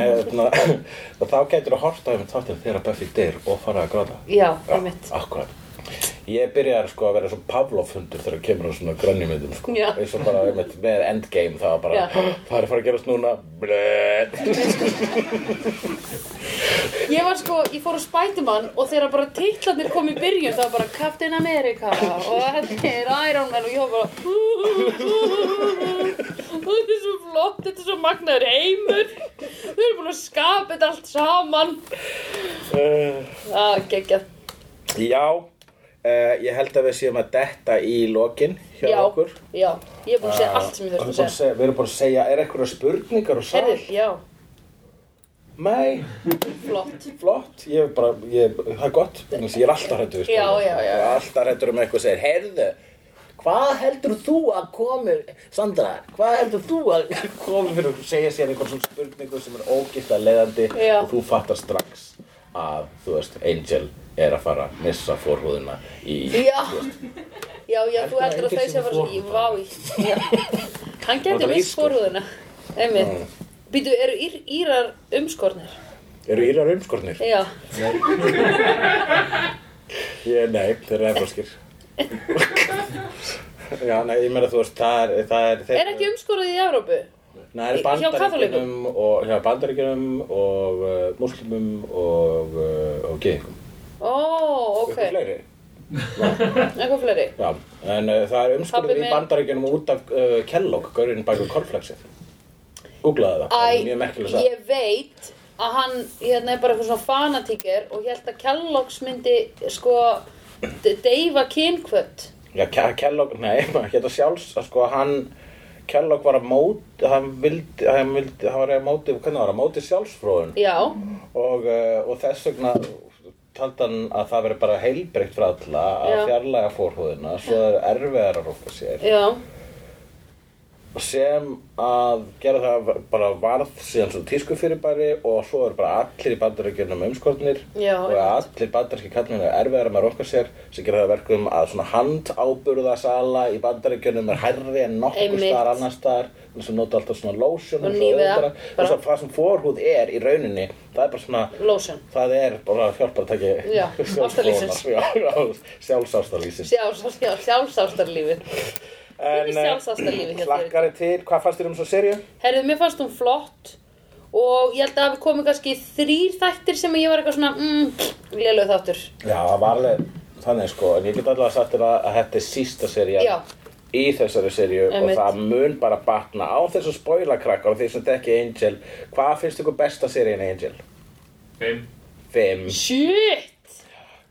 Speaker 1: Eðna, og þá getur að horta um þáttir þegar Buffy deyr og fara að gráta
Speaker 2: Já, einmitt.
Speaker 1: akkurat ég byrjar sko að vera svo Pavlov hundur þegar kemur á svona grönnjumyndum sko.
Speaker 2: Já.
Speaker 1: eins og bara einmitt, með endgame það var bara,
Speaker 2: Já.
Speaker 1: það er að fara að gerast núna blöð
Speaker 2: Ég var sko, ég fór á Spiderman og þegar bara titlarnir kom í byrjun þá var bara Captain America og þetta er Iron Man og ég var bara Þetta er svo flott, þetta er svo magnaður heimur Við erum búin að skapa þetta allt saman Það geggjað
Speaker 1: já uh, ég held að við séum að detta í lokin hjá
Speaker 2: Já,
Speaker 1: okkur
Speaker 2: já, ég er búin að segja allt sem ég
Speaker 1: Við erum búin
Speaker 2: þurfti að
Speaker 1: að
Speaker 2: segja
Speaker 1: segja- við erum búin að segja, er eitthvað spurningar og sal?
Speaker 2: Herðið, já
Speaker 1: Nei,
Speaker 2: flott.
Speaker 1: flott, ég er bara, ég, það er gott, vegna þess að ég er alltaf hrættur við
Speaker 2: Já,
Speaker 1: spoiler,
Speaker 2: já,
Speaker 1: sko.
Speaker 2: já.
Speaker 1: Ég er alltaf hrættur um eitthvað segir, heyrðu, hvað heldur þú að komi, Sandra, hvað heldur þú að komi fyrir að segja sér einhvern svona spurningu sem er ógifta leiðandi
Speaker 2: Já.
Speaker 1: og þú fattar strax að, þú veist, Angel er að fara að missa forhúðina í,
Speaker 2: Já, já, já, þú
Speaker 1: Heldur
Speaker 2: heldur að
Speaker 1: að
Speaker 2: þau
Speaker 1: enginn
Speaker 2: sem var
Speaker 1: sé
Speaker 2: svona í
Speaker 1: með
Speaker 2: vái. Já.
Speaker 1: Var
Speaker 2: Hann getur
Speaker 1: það
Speaker 2: viss
Speaker 1: írskur?
Speaker 2: forúðuna. Einmitt. Býtu, eru ír, írar umskornir?
Speaker 1: eru írar umskornir?
Speaker 2: Já.
Speaker 1: Ég, nei, þeir eru efraskir. Já, nei, ég meina þú veist, það er, það er, þeir-
Speaker 2: Er ekki umskorið í Evrópu?
Speaker 1: Nei, það er
Speaker 2: Hjá
Speaker 1: bandaríkjunum og, hjá bandaríkjunum og uh, muslimum og, uh, og geðingum.
Speaker 2: Ó, ok.
Speaker 1: Eitthvað fleiri.
Speaker 2: Eitthvað fleiri.
Speaker 1: Já, en uh, það er
Speaker 2: Pabbi
Speaker 1: umskurður í
Speaker 2: minn-
Speaker 1: bandaríkjunum út af uh, Kellogg, gaurinn bakur korflagsið. Googlaði það, það er mjög merkilega
Speaker 2: Æ,
Speaker 1: sagt.
Speaker 2: ég veit að hann hérna er bara eitthvað svona fanatíker og ég held að Kellogg's myndi sko d- deyfa kynkvöld.
Speaker 1: Já, Ke- Kellogg, nei, maður geta sjálfs að sko hann, Kellogg var að móti, hann vildi, hann vildi, hann var að móti, hvernig var að móti sjálfsfróðun
Speaker 2: Já,
Speaker 1: og, uh, og þess vegna taldi hann að það veri bara heilbreykt frá alla að
Speaker 2: Já.
Speaker 1: fjarlæga fórhúðina svo það er erfiðar að rúpa sér
Speaker 2: já,
Speaker 1: sem að gera það bara varð síðan svo tísku fyrirbæri og svo eru bara allir í bandaríkjunum umskortnir
Speaker 2: Já,
Speaker 1: og
Speaker 2: einmitt.
Speaker 1: allir bandaríkji kallmenn er erfiðar með rúpa sér sem gera það verkum að svona handáburðasala í bandaríkjunum er hærri en nokkur
Speaker 2: Einmitt.
Speaker 1: staðar annar staðar sem nota alltaf svona lotion
Speaker 2: Og
Speaker 1: svo
Speaker 2: nýfiða,
Speaker 1: auðveldara.
Speaker 2: bara.
Speaker 1: og svo það sem fórhúð er í rauninni það er bara svona
Speaker 2: lotion.
Speaker 1: Það er bara hjálpartæki
Speaker 2: Já,
Speaker 1: sjálfsfróunar.
Speaker 2: ástarlífsins.
Speaker 1: Já, já, sjálfsástarlífsins
Speaker 2: Sjálfs, já, sjálfsástarlífið.
Speaker 1: En, eh,
Speaker 2: sjálfsástarlífi hjá þér.
Speaker 1: Hlakkari til, hvað fannst þér um svo serju?
Speaker 2: Herðu, mér fannst hún flott og ég held að hafi komið kannski þrýr þættir sem ég var eitthvað svona, mm, lélög þáttur.
Speaker 1: Já, það var alveg þannig sko En ég get allavega sagt þér að, að þetta er sísta serja
Speaker 2: Já.
Speaker 1: Í þessari serju Og
Speaker 2: Einmitt.
Speaker 1: það mun bara batna á þessu spoilakrakkar Og því sem þetta ekki Angel Hvað finnst ykkur besta seríin Angel?
Speaker 4: Fimm.
Speaker 1: Fimm,
Speaker 2: Shit!